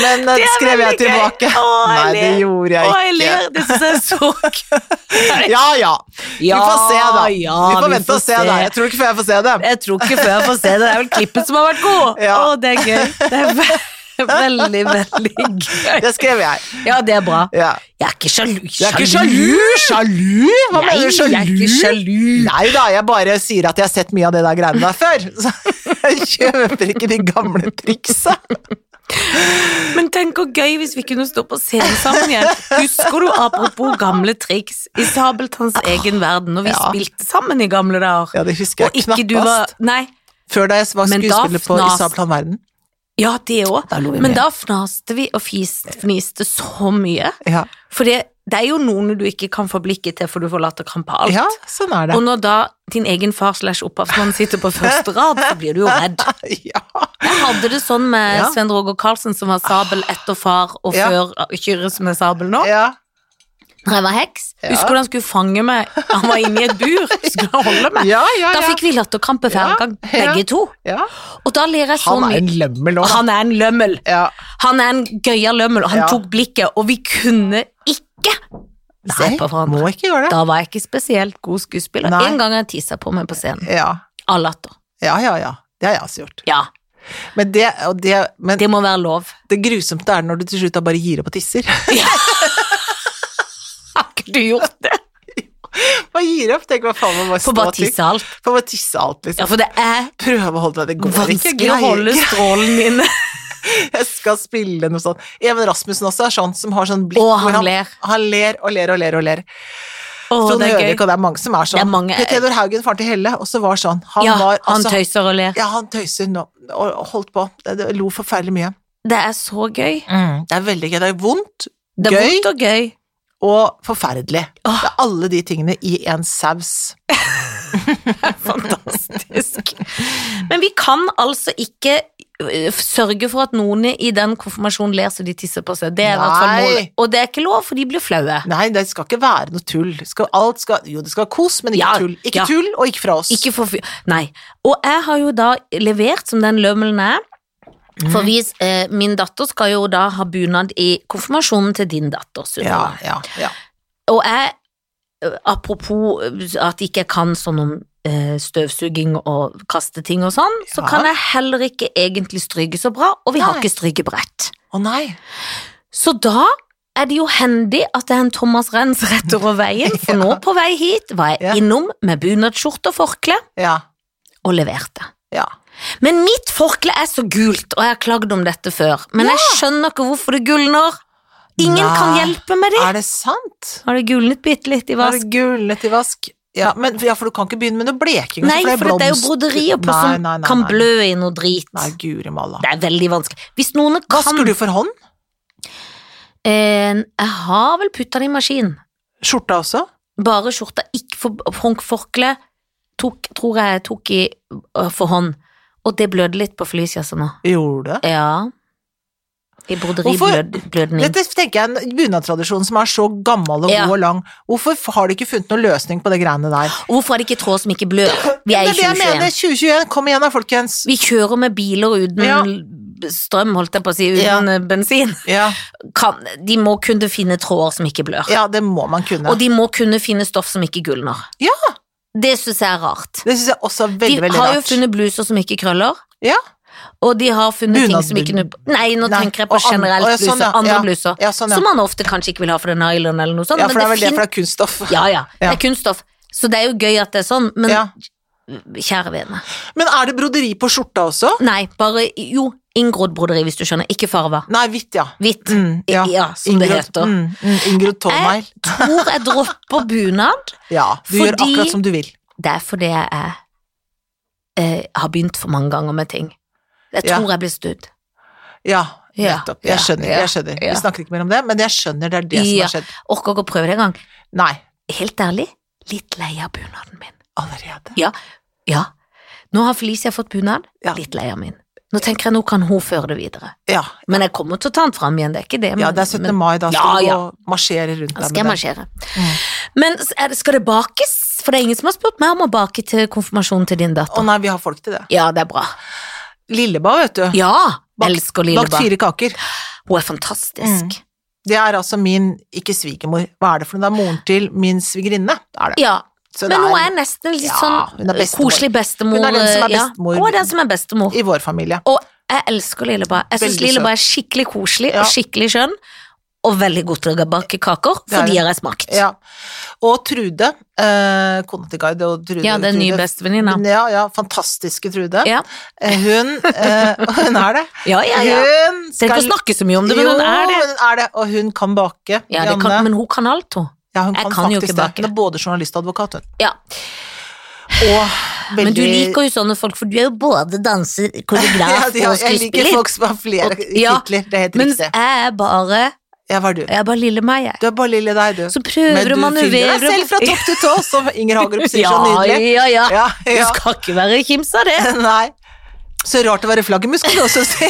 Speaker 1: Men eh,
Speaker 2: Det er
Speaker 1: skrev jeg
Speaker 2: veldig gøy.
Speaker 1: tilbake.
Speaker 2: Å, jeg
Speaker 1: Nei, det
Speaker 2: ler.
Speaker 1: gjorde
Speaker 2: Å, jeg
Speaker 1: jeg
Speaker 2: ler.
Speaker 1: ikke.
Speaker 2: Det syns jeg er så gøy.
Speaker 1: Ja ja. Vi
Speaker 2: Ja,
Speaker 1: får se, da.
Speaker 2: ja,
Speaker 1: Vi får
Speaker 2: vi
Speaker 1: vente
Speaker 2: får
Speaker 1: og se, da.
Speaker 2: se.
Speaker 1: Jeg tror ikke før jeg får se det.
Speaker 2: Jeg tror ikke før jeg får se det. Det er vel klippet som har vært god.
Speaker 1: Ja.
Speaker 2: Å, det er gøy. Det er ve veldig, veldig gøy.
Speaker 1: Det skrev jeg.
Speaker 2: Ja, det er bra.
Speaker 1: Ja.
Speaker 2: Jeg er ikke sjalu.
Speaker 1: Jeg er ikke sjalu! Sjalu? Hva
Speaker 2: Nei,
Speaker 1: mener du,
Speaker 2: jeg er
Speaker 1: sjalu?
Speaker 2: ikke sjalu.
Speaker 1: Nei da, jeg bare sier at jeg har sett mye av det der greiene der før. Så jeg kjøper ikke de gamle triksa.
Speaker 2: Men tenk hvor gøy hvis vi kunne stå på scenen sammen igjen. Husker du apropos gamle triks i Sabeltanns egen verden, når vi
Speaker 1: Ah, Ja.
Speaker 2: spilte sammen i gamle dager?
Speaker 1: Ja, det husker
Speaker 2: og
Speaker 1: jeg
Speaker 2: ikke du var
Speaker 1: knappast.
Speaker 2: Nei.
Speaker 1: Før da jeg var
Speaker 2: Men da
Speaker 1: skuespiller på
Speaker 2: fnas-
Speaker 1: Isabeltan Verden.
Speaker 2: Ja, det òg.
Speaker 1: Da lo vi
Speaker 2: Men
Speaker 1: mye.
Speaker 2: da fnaste vi og fiste, fniste så mye.
Speaker 1: Ja.
Speaker 2: For det, det er jo noen du ikke kan få blikket til, for du får latterkrampe av alt.
Speaker 1: ja, sånn er det.
Speaker 2: Og når da din egen far slash opphavsmann sitter på første rad, så blir du jo redd.
Speaker 1: Ja.
Speaker 2: Jeg hadde det sånn med
Speaker 1: Ja.
Speaker 2: Sven Roger Karlsen, som var sabel etter far, og
Speaker 1: Ja.
Speaker 2: før eh, Kyrre, som er sabel nå.
Speaker 1: Ja.
Speaker 2: Når jeg var heks.
Speaker 1: Ja.
Speaker 2: Husker du han skulle fange meg? Han var inne i et bur. Skulle han holde meg?
Speaker 1: Ja, ja,
Speaker 2: Da
Speaker 1: ja.
Speaker 2: fikk vi latterkrampe hver
Speaker 1: Ja,
Speaker 2: gang,
Speaker 1: ja.
Speaker 2: begge to.
Speaker 1: ja.
Speaker 2: Og da ler jeg så
Speaker 1: Han er
Speaker 2: mye.
Speaker 1: en lømmel òg.
Speaker 2: Han er en lømmel.
Speaker 1: Ja.
Speaker 2: Han er en gøyal lømmel. og Han
Speaker 1: Ja.
Speaker 2: tok blikket, og vi kunne ikke se
Speaker 1: Nei,
Speaker 2: på hverandre.
Speaker 1: må ikke gjøre det.
Speaker 2: Da var jeg ikke spesielt god skuespiller.
Speaker 1: Nei.
Speaker 2: En gang jeg tissa på meg på scenen.
Speaker 1: Ja.
Speaker 2: Av latter.
Speaker 1: ja, ja, ja. Det har jeg også gjort.
Speaker 2: Ja,
Speaker 1: Men det, og det, men
Speaker 2: det må være lov.
Speaker 1: det grusomte er når du til slutt da bare gir opp og tisser.
Speaker 2: Har ikke du gjort det?
Speaker 1: Bare gir opp, tenk hva faen man bare
Speaker 2: På bare
Speaker 1: stå til.
Speaker 2: tisse alt.
Speaker 1: Får bare tisse alt, liksom.
Speaker 2: Ja, for det er
Speaker 1: Prøve å holde deg, det går ikke.
Speaker 2: vanskelig å
Speaker 1: Greier
Speaker 2: holde liksom.
Speaker 1: ikke.
Speaker 2: strålen inne.
Speaker 1: Jeg skal spille noe sånt. Even Rasmussen også er sånn som har sånn blikk
Speaker 2: Og
Speaker 1: hvor
Speaker 2: han ler.
Speaker 1: Han ler og ler og ler og ler.
Speaker 2: Å,
Speaker 1: Trond
Speaker 2: det er
Speaker 1: Høvik,
Speaker 2: gøy.
Speaker 1: og det er mange som er sånn.
Speaker 2: Det er mange-
Speaker 1: Per Theodor Haugen, faren til Helle, også var sånn. Han
Speaker 2: Ja,
Speaker 1: var
Speaker 2: han
Speaker 1: altså-
Speaker 2: tøyser og ler.
Speaker 1: Ja, han tøyser nå, og og holdt på. Det, det lo forferdelig mye.
Speaker 2: Det er så gøy.
Speaker 1: Det er veldig gøy. Det er vondt
Speaker 2: Mm. Det er
Speaker 1: Gøy.
Speaker 2: vondt og gøy.
Speaker 1: og forferdelig. Det er alle de tingene i en saus.
Speaker 2: Fantastisk. Men vi kan altså ikke øh, sørge for at noen i den konfirmasjonen ler så de tisser på seg. Det er i hvert fall
Speaker 1: Nei.
Speaker 2: målet. Og det er ikke lov, for de blir flaue.
Speaker 1: Nei, det skal ikke være noe tull. Det Skal, alt skal, jo, det skal være kos, men ikke
Speaker 2: Ja,
Speaker 1: tull. Ikke
Speaker 2: ja.
Speaker 1: tull, og ikke fra oss.
Speaker 2: Ikke for fy... Nei. Og jeg har jo da levert som den lømmelen er. For vi, eh, min datter skal jo da ha bunad i konfirmasjonen til din datter, Sunniva.
Speaker 1: ja, ja, ja.
Speaker 2: Og jeg, ø, apropos ø, at ikke jeg kan sånn om ø, støvsuging og kaste ting og sånn, så
Speaker 1: Ja.
Speaker 2: kan jeg heller ikke egentlig stryke så bra, og vi har
Speaker 1: Nei.
Speaker 2: ikke strykebrett.
Speaker 1: Å nei.
Speaker 2: Så da er det jo hendig at det er en Thomas Renz rett over veien, for nå på vei hit var jeg
Speaker 1: Ja.
Speaker 2: innom med bunadsskjorte og forkle
Speaker 1: Ja.
Speaker 2: og leverte.
Speaker 1: Ja.
Speaker 2: Men mitt forkle er så gult, og jeg har klagd om dette før, men jeg skjønner ikke hvorfor det gulner. Ingen kan
Speaker 1: Nei.
Speaker 2: hjelpe med det.
Speaker 1: Er det sant?
Speaker 2: Har det gulnet bitte litt i
Speaker 1: Var
Speaker 2: vask?
Speaker 1: det gullet i vask? Ja, men, ja, for du kan ikke begynne med noe bleking. altså,
Speaker 2: Nei,
Speaker 1: det
Speaker 2: for det er jo
Speaker 1: blomst-
Speaker 2: broderier på
Speaker 1: Nei,
Speaker 2: som
Speaker 1: nei, nei,
Speaker 2: kan
Speaker 1: nei.
Speaker 2: blø i noe drit.
Speaker 1: Nei, guri malla.
Speaker 2: Det er veldig vanskelig. Hvis noen kan
Speaker 1: Vasker du for hånd?
Speaker 2: Eh, jeg har vel putta det i maskinen.
Speaker 1: Skjorta også?
Speaker 2: Bare skjorta, ikke for, for- forkle, tok, tror jeg tok i øh, for hånd. Og det blødde litt på flyskjassa nå.
Speaker 1: Gjorde det?
Speaker 2: Ja. I
Speaker 1: Hvorfor-
Speaker 2: broderiblødning.
Speaker 1: Dette tenker jeg er en bunadtradisjon som er så gammel og god
Speaker 2: Ja.
Speaker 1: og lang. Hvorfor f- har de ikke funnet noen løsning på det greiene der?
Speaker 2: Og Hvorfor er det ikke tråd som ikke blør? Vi er i
Speaker 1: det er det jeg mener.
Speaker 2: 2021.
Speaker 1: 2021, kom igjen da, folkens.
Speaker 2: Vi kjører med biler uten
Speaker 1: Ja.
Speaker 2: strøm, holdt jeg på å si,
Speaker 1: Ja.
Speaker 2: uten eh, bensin.
Speaker 1: Ja,
Speaker 2: Kan, de må kunne finne tråder som ikke blør.
Speaker 1: ja det må man kunne.
Speaker 2: Og de må kunne finne stoff som ikke gulner.
Speaker 1: Ja.
Speaker 2: Det syns jeg er rart.
Speaker 1: det syns jeg også er
Speaker 2: De
Speaker 1: veldig, veldig
Speaker 2: har jo
Speaker 1: rart.
Speaker 2: funnet bluser som ikke krøller.
Speaker 1: Ja.
Speaker 2: Og de har funnet ting som
Speaker 1: Bunadbund.
Speaker 2: ikke Nei, nå
Speaker 1: Nei,
Speaker 2: tenker jeg på
Speaker 1: og an-
Speaker 2: generelt
Speaker 1: å, ja, sånn,
Speaker 2: bluser.
Speaker 1: ja.
Speaker 2: Andre
Speaker 1: Ja,
Speaker 2: bluser.
Speaker 1: ja, sånn, ja.
Speaker 2: Som man ofte kanskje ikke vil ha for en nylon eller noe sånt.
Speaker 1: Ja, for det er vel det,
Speaker 2: fin-
Speaker 1: for det er kunststoff.
Speaker 2: ja, ja. Det
Speaker 1: Ja.
Speaker 2: er kunststoff. Så det er jo gøy at det er sånn, men
Speaker 1: Ja.
Speaker 2: kjære vene.
Speaker 1: Men er det broderi på skjorta også?
Speaker 2: Nei, bare Jo, inngrodd broderi, hvis du skjønner. Ikke farva.
Speaker 1: Nei, hvitt, ja.
Speaker 2: Hvitt.
Speaker 1: Mm,
Speaker 2: I- ja, som det heter. Eh,
Speaker 1: Mm, mm, Ingrid Tolmeil.
Speaker 2: Tror jeg dropper bunad.
Speaker 1: Ja, du gjør
Speaker 2: Fordi-
Speaker 1: akkurat som du vil.
Speaker 2: Det er fordi jeg er, eh, har begynt for mange ganger med ting. Jeg
Speaker 1: Ja.
Speaker 2: tror jeg blir snudd.
Speaker 1: Ja,
Speaker 2: Ja,
Speaker 1: nettopp.
Speaker 2: ja,
Speaker 1: Jeg skjønner.
Speaker 2: ja,
Speaker 1: jeg skjønner.
Speaker 2: ja.
Speaker 1: Vi snakker ikke mer om det, men jeg skjønner det er det som
Speaker 2: Ja.
Speaker 1: har skjedd.
Speaker 2: Orker ikke å prøve det engang.
Speaker 1: Nei,
Speaker 2: Helt ærlig, litt lei av bunaden min.
Speaker 1: allerede.
Speaker 2: Ja, nå har Felicia fått bunad,
Speaker 1: Ja.
Speaker 2: litt lei av min. Nå tenker jeg, nå kan hun føre det videre.
Speaker 1: Ja,
Speaker 2: Men jeg kommer til å ta den fram igjen, det er ikke det. Men,
Speaker 1: ja det er 17.
Speaker 2: men-
Speaker 1: mai, da
Speaker 2: Ja,
Speaker 1: skal du
Speaker 2: ja.
Speaker 1: gå og marsjere rundt
Speaker 2: Da
Speaker 1: der
Speaker 2: skal jeg
Speaker 1: med det. Mm.
Speaker 2: marsjere. Men s- er det- skal det bakes? For det er ingen som har spurt meg om å bake til konfirmasjonen til din datter.
Speaker 1: Å nei, vi har folk til det.
Speaker 2: Ja, det er bra.
Speaker 1: Lilleba, vet du.
Speaker 2: Ja,
Speaker 1: Bakt-
Speaker 2: elsker
Speaker 1: Bakt
Speaker 2: Lilleba.
Speaker 1: fire kaker.
Speaker 2: Hun er fantastisk.
Speaker 1: Det er altså min, ikke svigermor, hva er det for noe? Det er moren til min svigerinne, er det.
Speaker 2: Ja,
Speaker 1: Så det
Speaker 2: men hun
Speaker 1: er
Speaker 2: er nesten litt
Speaker 1: Ja,
Speaker 2: sånn
Speaker 1: hun er bestemor.
Speaker 2: koselig bestemor.
Speaker 1: Hun er den som er
Speaker 2: ja.
Speaker 1: bestemor.
Speaker 2: Hun er den som er bestemor.
Speaker 1: i vår familie.
Speaker 2: Og jeg elsker Lilleba. Jeg syns
Speaker 1: Veldig
Speaker 2: Lilleba er skikkelig koselig
Speaker 1: Ja.
Speaker 2: og skikkelig skjønn. Og veldig god til å bake kaker,
Speaker 1: Det er
Speaker 2: for de
Speaker 1: hun.
Speaker 2: har jeg smakt.
Speaker 1: Ja. Og Trude, eh, kona til Gard og Trude
Speaker 2: Ja, den
Speaker 1: Trude-
Speaker 2: nye bestevenninna.
Speaker 1: Ja, ja, fantastiske Trude.
Speaker 2: Ja.
Speaker 1: Eh, Hun, eh, og hun er det.
Speaker 2: Ja, ja, ja.
Speaker 1: Hun
Speaker 2: Trenger ikke å snakke så mye om det, men hun er det.
Speaker 1: Jo, hun er det, og hun kan bake.
Speaker 2: Ja, det kan,
Speaker 1: Janne.
Speaker 2: men hun kan alt, hun.
Speaker 1: ja, hun
Speaker 2: jeg
Speaker 1: kan,
Speaker 2: kan jo
Speaker 1: faktisk
Speaker 2: ikke
Speaker 1: det.
Speaker 2: bake.
Speaker 1: Hun er både journalist og advokat, hun.
Speaker 2: Ja.
Speaker 1: Og veldig
Speaker 2: Men du liker jo sånne folk, for du er jo både danser,
Speaker 1: ja,
Speaker 2: koreograf
Speaker 1: ja,
Speaker 2: og
Speaker 1: Jeg liker
Speaker 2: skuespiller.
Speaker 1: folk som har flere
Speaker 2: Og- ja,
Speaker 1: titler, det er helt
Speaker 2: Mens jeg
Speaker 1: riktig.
Speaker 2: er bare
Speaker 1: Ja, hva er du?
Speaker 2: Jeg er bare lille meg, jeg.
Speaker 1: Du er bare lille deg, du.
Speaker 2: Så prøver å
Speaker 1: Men du
Speaker 2: manøvrere
Speaker 1: finner deg selv fra topp til tå, som Inger Hagerup sier
Speaker 2: ja,
Speaker 1: så nydelig.
Speaker 2: Ja, ja,
Speaker 1: Ja, ja.
Speaker 2: Du skal ikke være kims av det.
Speaker 1: Nei. Så rart å være flaggermuskel også, si.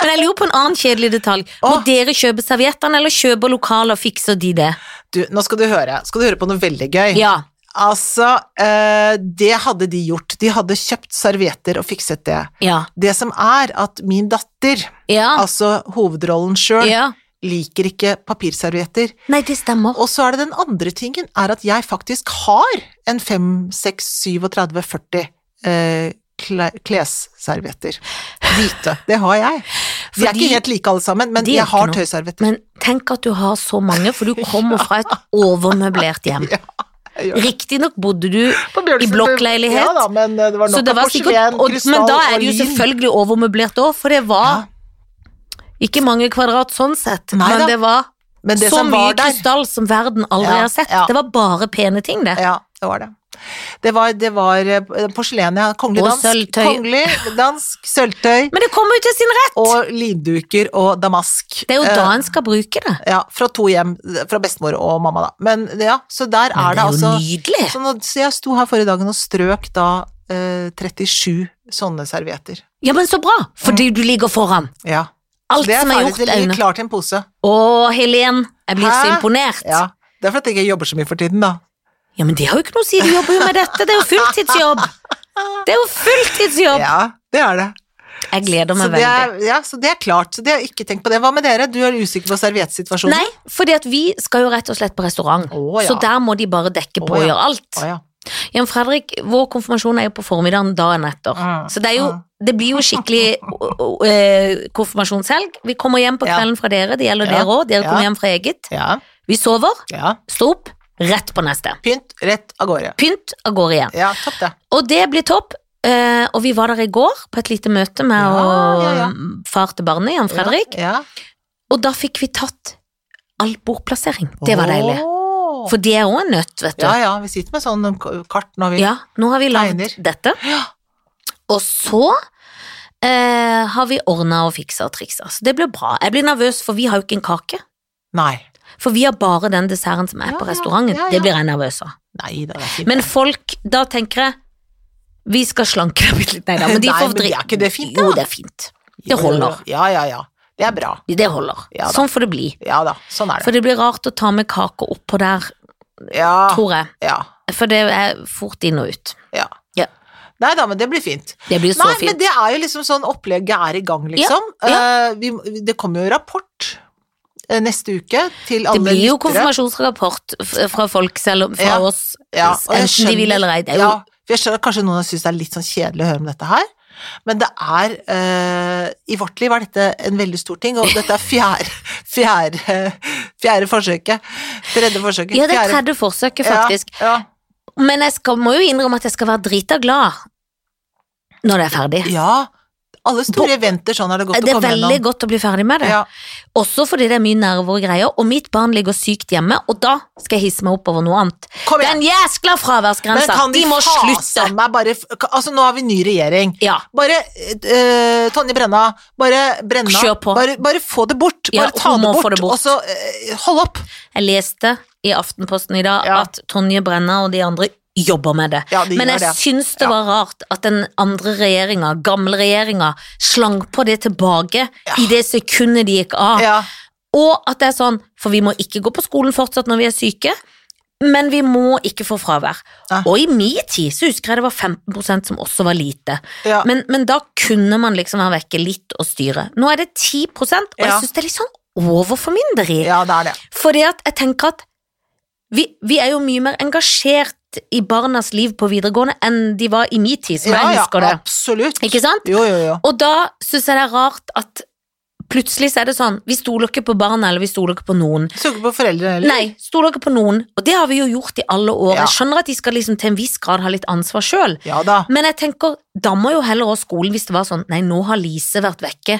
Speaker 2: Men jeg lurer på en annen kjedelig detalj. Må
Speaker 1: Åh.
Speaker 2: dere kjøpe serviettene, eller kjøper lokaler, fikser de det?
Speaker 1: Du, nå skal du høre. Skal du høre på noe veldig gøy?
Speaker 2: Ja.
Speaker 1: Altså, eh, det hadde de gjort. De hadde kjøpt servietter og fikset det.
Speaker 2: Ja.
Speaker 1: Det som er at min datter,
Speaker 2: Ja.
Speaker 1: altså hovedrollen sjøl,
Speaker 2: ja.
Speaker 1: liker ikke papirservietter.
Speaker 2: Nei, det stemmer.
Speaker 1: Og så er det den andre tingen, er at jeg faktisk har en 5, 6, 37, 40 eh, kle- klesservietter. Hvite. Det har jeg. De er
Speaker 2: Fordi-
Speaker 1: ikke helt like alle sammen, men
Speaker 2: De er
Speaker 1: jeg
Speaker 2: ikke
Speaker 1: har
Speaker 2: noe.
Speaker 1: tøyservietter.
Speaker 2: Men tenk at du har så mange, for du kommer fra et overmøblert hjem.
Speaker 1: Jeg gjør det.
Speaker 2: Riktignok bodde du
Speaker 1: På Bjørnsen-
Speaker 2: i blokkleilighet,
Speaker 1: Ja da, men eh, det var
Speaker 2: så
Speaker 1: nok
Speaker 2: det
Speaker 1: av
Speaker 2: var sikkert,
Speaker 1: porselen,
Speaker 2: og, Men
Speaker 1: krystall
Speaker 2: da er
Speaker 1: og
Speaker 2: det jo
Speaker 1: lin.
Speaker 2: selvfølgelig overmøblert òg, for det var ikke mange kvadrat sånn sett,
Speaker 1: Nei da.
Speaker 2: men det var
Speaker 1: Men det
Speaker 2: så
Speaker 1: som
Speaker 2: mye
Speaker 1: var der
Speaker 2: krystall som verden aldri
Speaker 1: Ja,
Speaker 2: har sett.
Speaker 1: ja.
Speaker 2: Det var bare pene ting, det.
Speaker 1: Ja, det var det. Det var, det var eh, porselen, ja. Kongelig
Speaker 2: Og
Speaker 1: dansk.
Speaker 2: sølvtøy.
Speaker 1: Kongelig dansk, sølvtøy
Speaker 2: Men det kommer jo til sin rett!
Speaker 1: og linduker og damask.
Speaker 2: Det er jo
Speaker 1: Eh,
Speaker 2: da en skal bruke det.
Speaker 1: Ja, fra to hjem, fra bestemor og mamma, da. Men ja, så der
Speaker 2: Men
Speaker 1: er det, altså
Speaker 2: jo nydelig!
Speaker 1: så, nå, så jeg sto her forrige dagen og strøk da eh, 37 sånne servietter.
Speaker 2: Ja, men så bra, fordi du ligger foran.
Speaker 1: Ja. Mm.
Speaker 2: Alt
Speaker 1: det er
Speaker 2: som er
Speaker 1: ferdig,
Speaker 2: gjort,
Speaker 1: det
Speaker 2: er
Speaker 1: ligger
Speaker 2: unna.
Speaker 1: klart i en pose.
Speaker 2: Å, Helen, jeg blir så
Speaker 1: Hæ?
Speaker 2: imponert. Ja.
Speaker 1: Ja. Det er fordi jeg ikke jobber så mye for tiden, da.
Speaker 2: men det har jo ikke noe å si, du jobber jo med dette, det er jo fulltidsjobb. Det er jo fulltidsjobb!
Speaker 1: Ja, det er det.
Speaker 2: Jeg gleder
Speaker 1: Så
Speaker 2: meg
Speaker 1: det
Speaker 2: veldig.
Speaker 1: er, ja, så det er klart. Så det har jeg ikke tenkt på det. Hva med dere? Du er usikker på serviettsituasjonen?
Speaker 2: Nei, fordi at vi skal jo rett og slett på restaurant,
Speaker 1: Å, ja.
Speaker 2: så der må de bare dekke på
Speaker 1: Å,
Speaker 2: og
Speaker 1: ja.
Speaker 2: gjøre alt.
Speaker 1: Å, ja.
Speaker 2: Jan Fredrik, vår konfirmasjon er jo på formiddagen dagen etter,
Speaker 1: Mm,
Speaker 2: så det er jo
Speaker 1: mm.
Speaker 2: det blir jo skikkelig o- o- eh, konfirmasjonshelg. Vi kommer hjem på
Speaker 1: Ja.
Speaker 2: kvelden fra dere, det
Speaker 1: Ja,
Speaker 2: gjelder dere òg. Dere kommer
Speaker 1: ja.
Speaker 2: hjem fra eget.
Speaker 1: Ja,
Speaker 2: Vi sover,
Speaker 1: ja.
Speaker 2: stå opp, rett på neste.
Speaker 1: Pynt rett av gårde.
Speaker 2: Pynt av gårde igjen.
Speaker 1: Ja, topp det.
Speaker 2: Og det blir topp. eh, og vi var der i går på et lite møte med
Speaker 1: Ja,
Speaker 2: og,
Speaker 1: ja, ja.
Speaker 2: mm, far til barnet, Jan Fredrik.
Speaker 1: Ja.
Speaker 2: Og da fikk vi tatt all bordplassering. Det var deilig.
Speaker 1: Åh.
Speaker 2: For det er òg en nøtt, vet du.
Speaker 1: Ja, ja, vi sitter med sånn k- kart når vi
Speaker 2: Ja, nå har vi lagd
Speaker 1: Tegner.
Speaker 2: dette. Og så Altså, eh, har vi ordna og fiksa og triksa. Så det blir bra. Jeg blir nervøs, for vi har jo ikke en kake.
Speaker 1: Nei.
Speaker 2: For vi har bare den desserten som er
Speaker 1: Ja,
Speaker 2: på
Speaker 1: ja,
Speaker 2: restauranten.
Speaker 1: ja, ja.
Speaker 2: Det blir jeg nervøs av.
Speaker 1: Nei, det er ikke
Speaker 2: Men folk, da tenker jeg Vi skal slanke dem litt. Nei da, men de
Speaker 1: Nei,
Speaker 2: får
Speaker 1: men det er
Speaker 2: dri-
Speaker 1: ikke det fint, da?
Speaker 2: Jo, det er fint. Det holder.
Speaker 1: Ja, ja, ja. Det er bra.
Speaker 2: Det holder.
Speaker 1: Ja da.
Speaker 2: sånn får det bli.
Speaker 1: Ja da, sånn er
Speaker 2: For
Speaker 1: det.
Speaker 2: det blir rart å ta med kake oppå der,
Speaker 1: Ja,
Speaker 2: tror jeg.
Speaker 1: ja,
Speaker 2: For det er fort inn og ut.
Speaker 1: ja.
Speaker 2: Ja.
Speaker 1: Nei da, men det blir fint.
Speaker 2: Det blir så
Speaker 1: Nei, men
Speaker 2: fint.
Speaker 1: det er jo liksom sånn opplegget er i gang, liksom. Eh, vi, det kommer jo rapport eh, neste uke til
Speaker 2: Det
Speaker 1: alle
Speaker 2: blir jo
Speaker 1: lyttere.
Speaker 2: konfirmasjonsrapport f- fra folk, selv om fra
Speaker 1: Ja.
Speaker 2: oss,
Speaker 1: Ja, og jeg
Speaker 2: enten de vil
Speaker 1: skjønner-
Speaker 2: eller ei. Det er jo
Speaker 1: Ja, for jeg skjønner kanskje noen syns det er litt sånn kjedelig å høre om dette her, men det er eh, I vårt liv er dette en veldig stor ting, og dette er fjerde, fjerde, fjerde forsøket. Tredje forsøket.
Speaker 2: Ja, det er
Speaker 1: fjerde-
Speaker 2: tredje forsøket, faktisk.
Speaker 1: Ja,
Speaker 2: Men jeg skal, må jo innrømme at jeg skal være drita glad når det er ferdig.
Speaker 1: ja. ja. Alle store eventer sånn er det godt
Speaker 2: Det
Speaker 1: å
Speaker 2: er
Speaker 1: komme
Speaker 2: veldig
Speaker 1: gjennom.
Speaker 2: godt å bli ferdig med det.
Speaker 1: Ja,
Speaker 2: Også fordi det er mye nerver og greier, og mitt barn ligger sykt hjemme, og da skal jeg hisse meg opp over noe annet.
Speaker 1: kom igjen!
Speaker 2: Den jæskla
Speaker 1: Men
Speaker 2: fraværsgrensa!
Speaker 1: kan
Speaker 2: De,
Speaker 1: de,
Speaker 2: må slutte!
Speaker 1: faen meg bare f- Altså, nå har vi ny regjering.
Speaker 2: Ja.
Speaker 1: Bare eh, Tonje Brenna, bare Brenna
Speaker 2: Kjør på.
Speaker 1: Bare, bare få det bort.
Speaker 2: Ja,
Speaker 1: Bare ta
Speaker 2: hun
Speaker 1: det
Speaker 2: må
Speaker 1: bort,
Speaker 2: få det bort.
Speaker 1: og så eh, hold opp.
Speaker 2: Jeg leste i Aftenposten i dag
Speaker 1: Ja.
Speaker 2: at Tonje Brenna og de andre jobber med det.
Speaker 1: Ja, de
Speaker 2: Men
Speaker 1: gjør
Speaker 2: jeg
Speaker 1: det.
Speaker 2: syns det
Speaker 1: Ja.
Speaker 2: var rart at den andre regjeringa, gamle regjeringa, slang på det tilbake i det sekundet de gikk av.
Speaker 1: Ja.
Speaker 2: Og at det er sånn, for vi må ikke gå på skolen fortsatt når vi er syke, men vi må ikke få fravær.
Speaker 1: Nei.
Speaker 2: Og i min tid så husker jeg det var 15 som også var lite.
Speaker 1: Ja.
Speaker 2: Men, men da kunne man liksom være vekke litt og styre. Nå er det 10 og jeg
Speaker 1: Ja.
Speaker 2: syns det er litt sånn overformynderi.
Speaker 1: ja, det er det.
Speaker 2: Fordi at jeg tenker at vi, vi er jo mye mer engasjert i barnas liv på videregående enn de var i min tid, som jeg husker det.
Speaker 1: absolutt.
Speaker 2: Ikke sant?
Speaker 1: Jo, jo, jo.
Speaker 2: Og da syns jeg det er rart at plutselig så er det sånn Vi stoler ikke på barna, eller vi stoler ikke på noen.
Speaker 1: Så ikke på foreldrene heller.
Speaker 2: Nei, stoler ikke på noen. Og det har vi jo gjort i alle år.
Speaker 1: Ja.
Speaker 2: Jeg skjønner at de skal liksom til en viss grad ha litt ansvar sjøl.
Speaker 1: Ja da.
Speaker 2: Men jeg tenker, da må jo heller også skolen, hvis det var sånn Nei, nå har Lise vært vekke.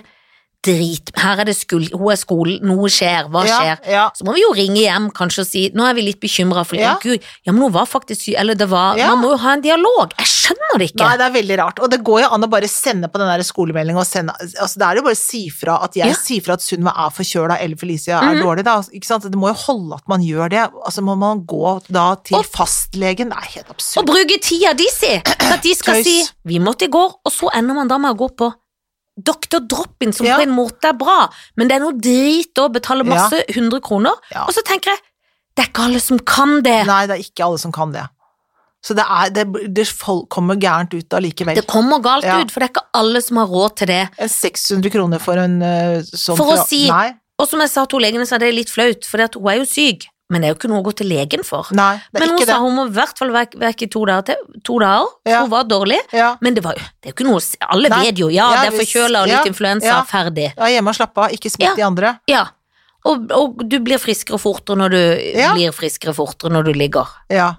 Speaker 2: Drit. Her er det skul hun er skolen, noe skjer, hva
Speaker 1: ja,
Speaker 2: skjer?
Speaker 1: Ja.
Speaker 2: Så må vi jo ringe hjem kanskje og si Nå er vi litt bekymra, for
Speaker 1: Ja.
Speaker 2: å, gud, ja, men hun var faktisk syk Eller det var
Speaker 1: Ja.
Speaker 2: Man må jo ha en dialog. Jeg skjønner det ikke.
Speaker 1: Nei, det er veldig rart. Og det går jo an å bare sende på den der skolemeldingen og sende altså Det er jo bare å si fra at jeg
Speaker 2: Ja. Mhm.
Speaker 1: sier fra at Sunniva er forkjøla eller Felicia er dårlig, da. Ikke sant? Det må jo holde at man gjør det. Altså må man gå da til
Speaker 2: Og-
Speaker 1: fastlegen. Det er helt
Speaker 2: Og
Speaker 1: absurd.
Speaker 2: bruke tida de, si! For at de skal
Speaker 1: Tøys.
Speaker 2: si 'vi måtte i går', og så ender man da med å gå på Dr. Drop-in, som
Speaker 1: Ja.
Speaker 2: på en måte er bra, men det er noe drit å betale masse 100 kroner.
Speaker 1: Ja.
Speaker 2: Og så tenker jeg det er ikke alle som kan det.
Speaker 1: Nei, det er ikke alle som kan det. Så det, er, det, det folk kommer gærent ut allikevel.
Speaker 2: Det kommer galt
Speaker 1: Ja.
Speaker 2: ut, for det er ikke alle som har råd til det.
Speaker 1: En 600 kroner for en eh, sånn
Speaker 2: For å
Speaker 1: fra-
Speaker 2: si-
Speaker 1: Nei,
Speaker 2: Og som jeg sa til legene, så er det litt flaut, for hun er jo syk. Men det er jo ikke noe å gå til legen for.
Speaker 1: nei, det er
Speaker 2: Men
Speaker 1: ikke
Speaker 2: hun
Speaker 1: det.
Speaker 2: sa hun må i hvert fall være vekk i to dager til. To dager, for
Speaker 1: Ja.
Speaker 2: hun var dårlig.
Speaker 1: Ja.
Speaker 2: Men det, var, jo- det er jo ikke noe å si. Alle
Speaker 1: Nei.
Speaker 2: vet jo. Ja,
Speaker 1: Ja,
Speaker 2: det er
Speaker 1: hvis-
Speaker 2: forkjøla og
Speaker 1: ja,
Speaker 2: litt influensa.
Speaker 1: ja.
Speaker 2: Ferdig.
Speaker 1: Ja, hjemme og slappe av, ikke smitt
Speaker 2: Ja.
Speaker 1: de andre.
Speaker 2: Ja. Og, og du blir friskere fortere når du
Speaker 1: Ja.
Speaker 2: blir friskere fortere når du ligger.
Speaker 1: Ja.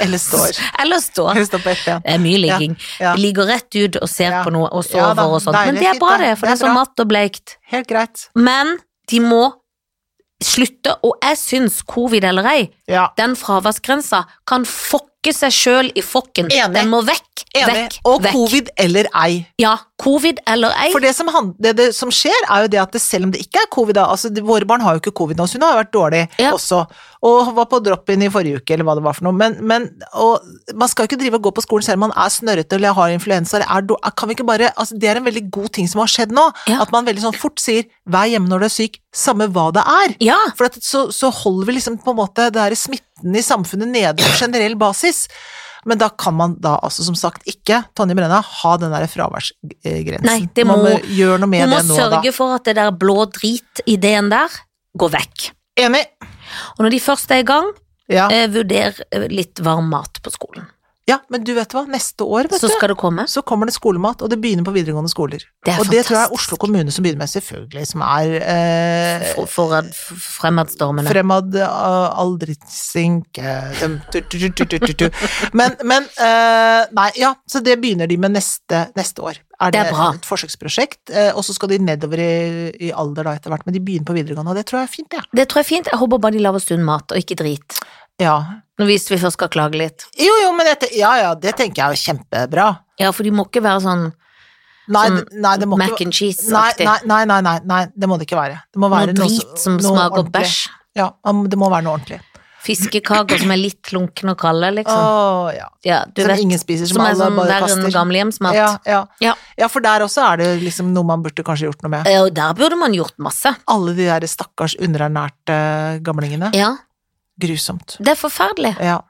Speaker 1: Eller står.
Speaker 2: Eller står.
Speaker 1: Eller står på ett ben.
Speaker 2: Det er mye ligging.
Speaker 1: Ja, ja.
Speaker 2: Ligger rett ut og ser
Speaker 1: Ja.
Speaker 2: på noe og
Speaker 1: Ja
Speaker 2: sover
Speaker 1: da,
Speaker 2: og sånn. Men
Speaker 1: deilig,
Speaker 2: det er
Speaker 1: fint,
Speaker 2: bra,
Speaker 1: det.
Speaker 2: det, for
Speaker 1: Det
Speaker 2: det
Speaker 1: er
Speaker 2: er
Speaker 1: bra.
Speaker 2: så matt og bleikt.
Speaker 1: Helt greit.
Speaker 2: Men de må slutte, og jeg syns covid eller ei,
Speaker 1: Ja.
Speaker 2: den fraværsgrensa kan fokke seg sjøl i fokken.
Speaker 1: Enig.
Speaker 2: Den må vekk,
Speaker 1: Enig.
Speaker 2: vekk,
Speaker 1: Og
Speaker 2: vekk.
Speaker 1: covid eller ei.
Speaker 2: Ja, covid eller ei.
Speaker 1: For det som, han, det, det som skjer, er jo det at det, selv om det ikke er covid da, altså de, Våre barn har jo ikke covid nå, så hun har jo vært dårlig
Speaker 2: Ja.
Speaker 1: også. Og var på drop-in i forrige uke, eller hva det var for noe. Men, men og, man skal jo ikke drive og gå på skolen selv om man er snørrete eller har influensa. eller Er, dår- kan vi ikke bare, altså det er en veldig god ting som har skjedd nå.
Speaker 2: Ja.
Speaker 1: At man veldig sånn fort sier 'vær hjemme når du er syk', samme hva det er.
Speaker 2: Ja,
Speaker 1: For at, så, så holder vi liksom på en måte det her smitten i samfunnet nede på generell basis. Men da kan man da altså som sagt ikke, Tonje Brenna, ha den der fraværsgrensen.
Speaker 2: Nei, det
Speaker 1: man
Speaker 2: må-
Speaker 1: gjøre noe
Speaker 2: du
Speaker 1: med
Speaker 2: må
Speaker 1: det nå,
Speaker 2: sørge for at det der blå drit-ideen der går vekk.
Speaker 1: da. Enig.
Speaker 2: Og når de først er i gang,
Speaker 1: Ja.
Speaker 2: eh, vurder eh, litt varm mat på skolen.
Speaker 1: ja, men du vet hva, neste år, vet
Speaker 2: Så skal det komme.
Speaker 1: du, så kommer det skolemat, og det begynner på videregående skoler.
Speaker 2: Det er
Speaker 1: og det tror jeg er
Speaker 2: fantastisk.
Speaker 1: Oslo kommune som begynner med, selvfølgelig, som er eh,
Speaker 2: For, for, for fremadstormene.
Speaker 1: Fremad uh, aldritsink eh, dum, tu, tu, tu, tu, tu, tu, tu. Men, men eh, Nei, ja, så det begynner de med neste, neste år. Er
Speaker 2: Det er
Speaker 1: det,
Speaker 2: bra.
Speaker 1: et forsøksprosjekt? eh, og så skal de nedover i, i alder da etter hvert, men de begynner på videregående, og det tror jeg er fint, det.
Speaker 2: Det tror jeg er fint. Jeg håper bare de lager sunn mat, og ikke drit.
Speaker 1: Ja. Ja.
Speaker 2: Nå Hvis vi først skal klage litt.
Speaker 1: Jo, jo, men dette, ja, ja, det tenker jeg er kjempebra.
Speaker 2: Ja, for de må ikke være sånn
Speaker 1: Nei,
Speaker 2: Sånn
Speaker 1: det- nei, det må
Speaker 2: Mac
Speaker 1: ikke Nei,
Speaker 2: and cheese-aktig.
Speaker 1: nei, nei, nei, nei, nei, det må det ikke være. Det må
Speaker 2: Noe
Speaker 1: være noe,
Speaker 2: drit som
Speaker 1: noe
Speaker 2: smaker
Speaker 1: ordentlig.
Speaker 2: bæsj.
Speaker 1: Ja, det må være noe ordentlig.
Speaker 2: Fiskekaker som er litt lunkne og kalde, liksom.
Speaker 1: Åh, ja.
Speaker 2: Ja, du
Speaker 1: Som
Speaker 2: vet.
Speaker 1: ingen spiser, som,
Speaker 2: Som er
Speaker 1: alle
Speaker 2: sånn
Speaker 1: bare
Speaker 2: verre enn
Speaker 1: kaster.
Speaker 2: gamlehjemsmat.
Speaker 1: Ja, ja.
Speaker 2: Ja.
Speaker 1: ja, for der også er det liksom noe man burde kanskje gjort noe med.
Speaker 2: Eh, Og der burde man gjort masse.
Speaker 1: Alle de der stakkars underernærte eh, gamlingene.
Speaker 2: Ja,
Speaker 1: Grusomt.
Speaker 2: det er forferdelig.
Speaker 1: Ja.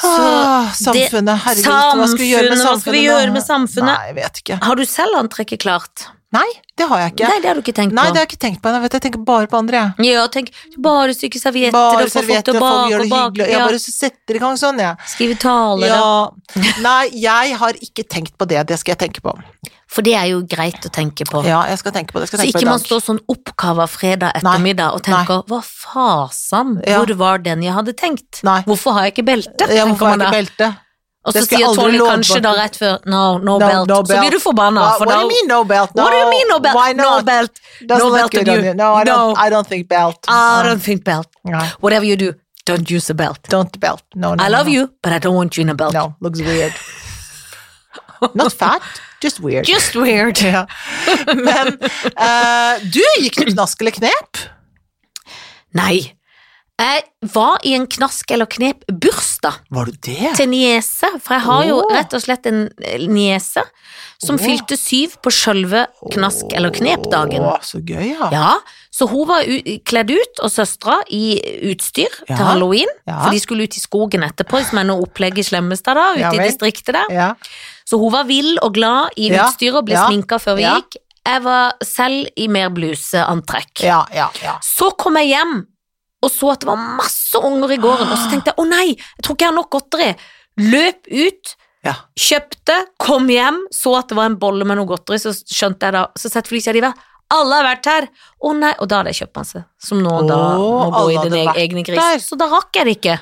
Speaker 2: Så
Speaker 1: Ah,
Speaker 2: det-
Speaker 1: samfunnet, herregud, hva skal vi gjøre med samfunnet?
Speaker 2: Samfunnet, hva skal vi
Speaker 1: nå?
Speaker 2: gjøre med samfunnet?
Speaker 1: Nei, jeg vet ikke.
Speaker 2: Har du selv antrekket klart?
Speaker 1: Nei, det har jeg ikke.
Speaker 2: Nei, det har du ikke tenkt
Speaker 1: Nei, det
Speaker 2: på.
Speaker 1: har jeg ikke tenkt på ennå, vet du. Jeg tenker bare på andre, jeg.
Speaker 2: Ja, tenk, bare stykke servietter,
Speaker 1: Bare
Speaker 2: og få folk
Speaker 1: servietter
Speaker 2: til
Speaker 1: og
Speaker 2: å
Speaker 1: folk
Speaker 2: bake
Speaker 1: gjør det
Speaker 2: og bake.
Speaker 1: hyggelig. Jeg
Speaker 2: Ja.
Speaker 1: bare setter i gang sånn, jeg.
Speaker 2: Skrive taler, da.
Speaker 1: Ja. Nei, jeg har ikke tenkt på det. Det skal jeg tenke på.
Speaker 2: For det er jo greit å tenke på.
Speaker 1: Ja, jeg skal tenke på det. Jeg skal
Speaker 2: Så
Speaker 1: tenke på
Speaker 2: ikke
Speaker 1: i
Speaker 2: man
Speaker 1: dag.
Speaker 2: står sånn oppkava fredag ettermiddag og tenker 'hva fasan,
Speaker 1: Ja.
Speaker 2: hvor var den jeg hadde tenkt'?
Speaker 1: Nei.
Speaker 2: Hvorfor har jeg ikke belte?
Speaker 1: Ja,
Speaker 2: tenker
Speaker 1: hvorfor har jeg
Speaker 2: man da.
Speaker 1: ikke belte?
Speaker 2: Og
Speaker 1: Det
Speaker 2: så
Speaker 1: skal jeg
Speaker 2: sier
Speaker 1: aldri
Speaker 2: Tony
Speaker 1: love
Speaker 2: kanskje
Speaker 1: bort.
Speaker 2: da rett før 'no,
Speaker 1: No,
Speaker 2: no, belt'.
Speaker 1: no
Speaker 2: Så blir
Speaker 1: belt.
Speaker 2: du forbanna.
Speaker 1: Hva-
Speaker 2: for
Speaker 1: what
Speaker 2: da-
Speaker 1: do you mean no belt?
Speaker 2: What do you mean no belt?
Speaker 1: Why
Speaker 2: No
Speaker 1: not?
Speaker 2: belt.
Speaker 1: Doesn't
Speaker 2: No
Speaker 1: look
Speaker 2: belt
Speaker 1: good on
Speaker 2: on you.
Speaker 1: you. No, I don't,
Speaker 2: No.
Speaker 1: I don't think belt. Um,
Speaker 2: I
Speaker 1: No.
Speaker 2: don't think belt.
Speaker 1: No.
Speaker 2: Whatever you do, don't use a belt.
Speaker 1: Don't belt. No, no,
Speaker 2: I love
Speaker 1: no.
Speaker 2: you, but I don't want you in a belt.
Speaker 1: No, looks weird. Not fat, just weird.
Speaker 2: Just weird.
Speaker 1: Ja. Men eh, du gikk til knask eller knep?
Speaker 2: Nei. Jeg var i en knask eller knep bursdag
Speaker 1: Var du det?
Speaker 2: til niese, for jeg har jo
Speaker 1: Åh.
Speaker 2: rett og slett en eh, niese som
Speaker 1: Åh.
Speaker 2: fylte syv på sjølve knask eller knep-dagen.
Speaker 1: Å, så gøy, ja.
Speaker 2: Ja, så hun var u kledd ut, og søstera i utstyr
Speaker 1: Ja.
Speaker 2: til halloween,
Speaker 1: Ja.
Speaker 2: for de skulle ut i skogen etterpå, som er noe opplegg i Slemmestad da, ute
Speaker 1: Ja
Speaker 2: i
Speaker 1: vel.
Speaker 2: distriktet der.
Speaker 1: Ja.
Speaker 2: Så hun var vill og glad i
Speaker 1: Ja.
Speaker 2: utstyret og ble
Speaker 1: Ja.
Speaker 2: sminka før vi
Speaker 1: Ja.
Speaker 2: gikk. Jeg var selv i mer bluseantrekk.
Speaker 1: Ja, ja, ja.
Speaker 2: Så kom jeg hjem og så at det var masse unger i gården, og så tenkte jeg å nei, jeg tror ikke jeg har nok godteri. Løp ut,
Speaker 1: Ja.
Speaker 2: kjøpte, kom hjem, så at det var en bolle med noe godteri, så skjønte jeg da, så sett Felicia de var alle har vært her! Å nei, og da hadde jeg kjøpt masse, som nå da må
Speaker 1: Å,
Speaker 2: bo i
Speaker 1: alle
Speaker 2: din
Speaker 1: hadde vært
Speaker 2: egne gris.
Speaker 1: der.
Speaker 2: Så da rakk jeg det ikke.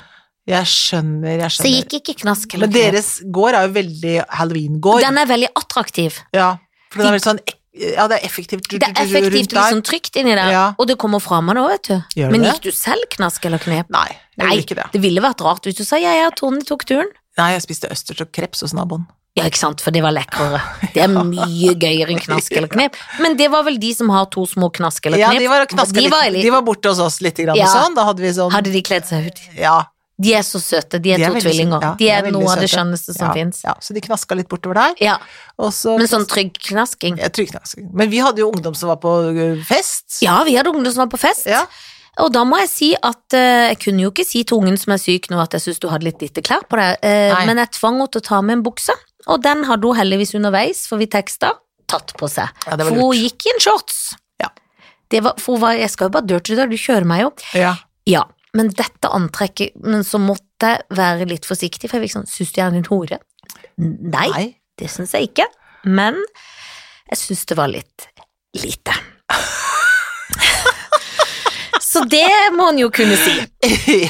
Speaker 1: Jeg skjønner, jeg
Speaker 2: Så jeg
Speaker 1: skjønner.
Speaker 2: gikk ikke knask eller
Speaker 1: Men
Speaker 2: knep.
Speaker 1: deres gård er jo veldig halloween-gård.
Speaker 2: Den er veldig attraktiv.
Speaker 1: Ja, for den er veldig sånn ek- Ja, det er effektivt
Speaker 2: Det er effektivt liksom trygt inni der,
Speaker 1: Ja.
Speaker 2: og det kommer fram av det òg, vet du.
Speaker 1: Gjør
Speaker 2: Men
Speaker 1: det?
Speaker 2: gikk du selv knask eller knep?
Speaker 1: Nei, jeg
Speaker 2: Nei,
Speaker 1: gjorde ikke det.
Speaker 2: det ville vært rart hvis du sa ja, ja, Tony tok turen.
Speaker 1: Nei, jeg spiste østers og kreps hos naboen.
Speaker 2: Ja, ikke sant, for det var lekrere. Det er mye gøyere enn knask eller knep. Men det var vel de som har to små knask eller
Speaker 1: Ja,
Speaker 2: knep.
Speaker 1: de var, og knaska
Speaker 2: De
Speaker 1: litt,
Speaker 2: var litt-
Speaker 1: de var borte hos oss litt grann,
Speaker 2: Ja.
Speaker 1: og sånn. Da hadde vi sånn
Speaker 2: Hadde de kledd seg ut?
Speaker 1: Ja.
Speaker 2: De er så søte, de er,
Speaker 1: De er
Speaker 2: to
Speaker 1: veldig
Speaker 2: tvillinger.
Speaker 1: søte, ja,
Speaker 2: de
Speaker 1: de er
Speaker 2: er,
Speaker 1: veldig
Speaker 2: noe av det
Speaker 1: søte.
Speaker 2: skjønneste som
Speaker 1: ja,
Speaker 2: fins.
Speaker 1: ja, så de knaska litt bortover der.
Speaker 2: Ja,
Speaker 1: Og så
Speaker 2: men sånn trygg knasking.
Speaker 1: Jeg tror ikke knask. Men vi hadde jo ungdom som var på ø, fest.
Speaker 2: Ja, vi hadde ungdom som var på fest,
Speaker 1: Ja.
Speaker 2: og da må jeg si at eh, jeg kunne jo ikke si til ungen som er syk nå at jeg syns du hadde litt lite klær på deg, eh,
Speaker 1: Nei.
Speaker 2: men jeg tvang henne til å ta med en bukse, og den hadde hun heldigvis underveis, for vi teksta, tatt på seg.
Speaker 1: Ja, det var
Speaker 2: for hun
Speaker 1: lurt.
Speaker 2: gikk i en shorts.
Speaker 1: Ja.
Speaker 2: Det var, for hun var, jeg skal jo bare dirty der, du kjører meg jo.
Speaker 1: Ja.
Speaker 2: Ja, men dette antrekket Men så måtte jeg være litt forsiktig, for jeg fikk sånn Syns du jeg er en hore? Nei,
Speaker 1: Nei.
Speaker 2: det syns jeg ikke. Men jeg syns det var litt lite. Så det må en jo kunne si.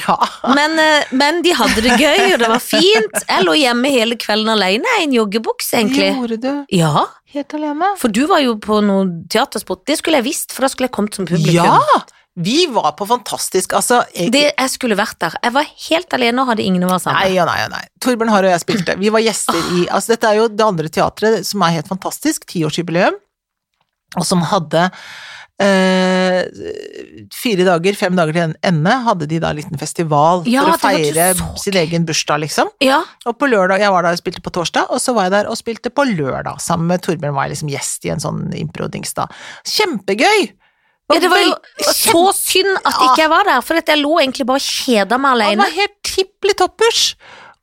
Speaker 1: ja.
Speaker 2: Men, eh, men de hadde det gøy, og det var fint. Jeg lå hjemme hele kvelden alene i en joggebukse, egentlig.
Speaker 1: Gjorde du
Speaker 2: Ja,
Speaker 1: helt alene?
Speaker 2: for du var jo på noe teatersport. Det skulle jeg visst, for da skulle jeg kommet som publikum.
Speaker 1: Ja! Vi var på fantastisk Altså, jeg,
Speaker 2: Det, jeg skulle vært der. Jeg var helt alene og hadde ingen å være sammen med.
Speaker 1: Nei og nei og nei. Torbjørn Harre og jeg spilte. Vi var gjester i
Speaker 2: Ah.
Speaker 1: altså Dette er jo det andre teatret som er helt fantastisk, tiårsjubileum, og som hadde eh, fire dager, fem dager til en ende, hadde de da en liten festival
Speaker 2: Ja,
Speaker 1: for å
Speaker 2: det hørtes
Speaker 1: feire
Speaker 2: så
Speaker 1: sin egen bursdag, liksom.
Speaker 2: Ja,
Speaker 1: Og på lørdag, jeg var der og spilte på torsdag, og så var jeg der og spilte på lørdag. Sammen med Torbjørn var jeg liksom gjest i en sånn improdings da. Kjempegøy!
Speaker 2: ja, det var jo
Speaker 1: vel-
Speaker 2: så synd at ikke jeg var der, for at jeg lå egentlig bare og kjeda meg
Speaker 1: Han
Speaker 2: alene.
Speaker 1: var helt tippelig toppers!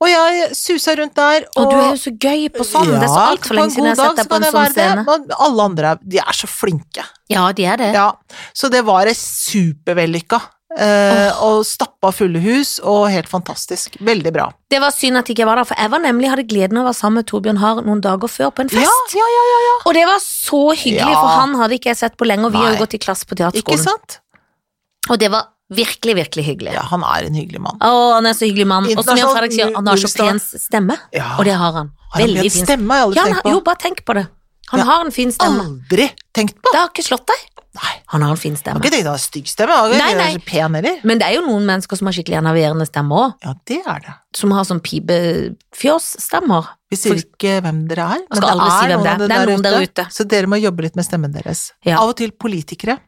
Speaker 1: Og jeg susa rundt der, og,
Speaker 2: Og du er jo så gøy på sånn, det er så altfor lenge siden jeg har sett deg på
Speaker 1: kan
Speaker 2: en
Speaker 1: jeg
Speaker 2: sånn
Speaker 1: være det,
Speaker 2: scene.
Speaker 1: men alle andre er, de er så flinke.
Speaker 2: Ja, de er det.
Speaker 1: Ja. Så det var et supervellykka. Eh, Og stappa fulle hus, og helt fantastisk. Veldig bra.
Speaker 2: Det var synd at ikke jeg var der, for jeg var nemlig, hadde gleden av å være sammen med Torbjørn Haar noen dager før på en
Speaker 1: Ja,
Speaker 2: fest.
Speaker 1: ja, ja, ja,
Speaker 2: Og det var så hyggelig,
Speaker 1: Ja.
Speaker 2: for han hadde ikke jeg sett på lenge, og vi har
Speaker 1: Nei.
Speaker 2: jo gått i klasse på
Speaker 1: Ikke
Speaker 2: teaterskolen.
Speaker 1: sant?
Speaker 2: Og det var virkelig, virkelig hyggelig.
Speaker 1: Ja, han er en hyggelig mann.
Speaker 2: Å, han er så hyggelig mann. Og som Jan
Speaker 1: Internasjonal
Speaker 2: Fredrik sier, han har så
Speaker 1: nullstar.
Speaker 2: pen stemme.
Speaker 1: Ja.
Speaker 2: Og det har han.
Speaker 1: Har han
Speaker 2: Veldig
Speaker 1: pen
Speaker 2: fin
Speaker 1: stemme? Jeg har
Speaker 2: Ja,
Speaker 1: aldri
Speaker 2: han,
Speaker 1: tenkt
Speaker 2: har-
Speaker 1: på.
Speaker 2: jo, bare tenk på det. Han
Speaker 1: Ja.
Speaker 2: har en fin stemme.
Speaker 1: Aldri tenkt på!
Speaker 2: Det har ikke slått deg.
Speaker 1: Nei.
Speaker 2: Han har en fin
Speaker 1: Jeg har
Speaker 2: stemme.
Speaker 1: ikke tenkt at han har stygg stemme. Han
Speaker 2: Nei,
Speaker 1: er
Speaker 2: nei.
Speaker 1: ikke så pen heller.
Speaker 2: Men det er jo noen mennesker som har skikkelig enerverende stemmer òg.
Speaker 1: Ja, det er det.
Speaker 2: Som har sånn pipefjåsstemmer.
Speaker 1: Vi sier ikke hvem dere er, men
Speaker 2: skal
Speaker 1: det
Speaker 2: aldri si
Speaker 1: er,
Speaker 2: hvem
Speaker 1: noen
Speaker 2: det er.
Speaker 1: av
Speaker 2: Det er
Speaker 1: dere
Speaker 2: noen
Speaker 1: der
Speaker 2: der
Speaker 1: ute.
Speaker 2: ute.
Speaker 1: Så dere må jobbe litt med stemmen deres.
Speaker 2: Ja.
Speaker 1: Av og til politikere.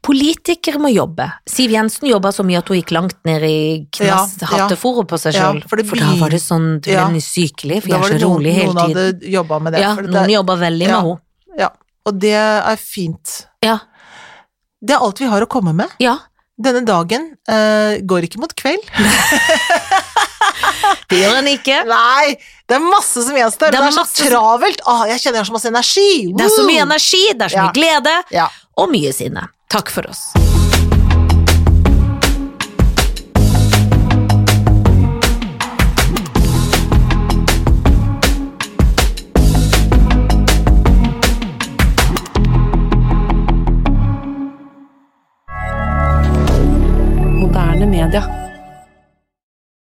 Speaker 2: Politikere må jobbe. Siv Jensen jobba så mye at hun gikk langt ned i
Speaker 1: Ja, ja.
Speaker 2: knasshattefòret på seg
Speaker 1: Ja,
Speaker 2: sjøl.
Speaker 1: for
Speaker 2: for,
Speaker 1: det
Speaker 2: da
Speaker 1: begyn-
Speaker 2: var det sånn Du ble
Speaker 1: Ja.
Speaker 2: sykelig, for
Speaker 1: Da
Speaker 2: jeg
Speaker 1: var
Speaker 2: er
Speaker 1: det
Speaker 2: så
Speaker 1: noen,
Speaker 2: rolig hele
Speaker 1: noen
Speaker 2: tiden.
Speaker 1: hadde jobba med det.
Speaker 2: Ja,
Speaker 1: for det
Speaker 2: noen
Speaker 1: er-
Speaker 2: jobber
Speaker 1: Ja.
Speaker 2: veldig med henne.
Speaker 1: ja. Og det er fint.
Speaker 2: Ja.
Speaker 1: Det er alt vi har å komme med.
Speaker 2: ja.
Speaker 1: Denne dagen eh, går ikke mot kveld.
Speaker 2: Det gjør en ikke.
Speaker 1: Nei! Det er masse som gjenstår.
Speaker 2: Det
Speaker 1: Det
Speaker 2: er
Speaker 1: er, så
Speaker 2: masse som-
Speaker 1: travelt. Åh, jeg kjenner jeg har så masse energi!
Speaker 2: Det er så
Speaker 1: Woo!
Speaker 2: mye energi, det er så
Speaker 1: Ja.
Speaker 2: mye glede,
Speaker 1: Ja.
Speaker 2: og mye sinne. Takk for oss.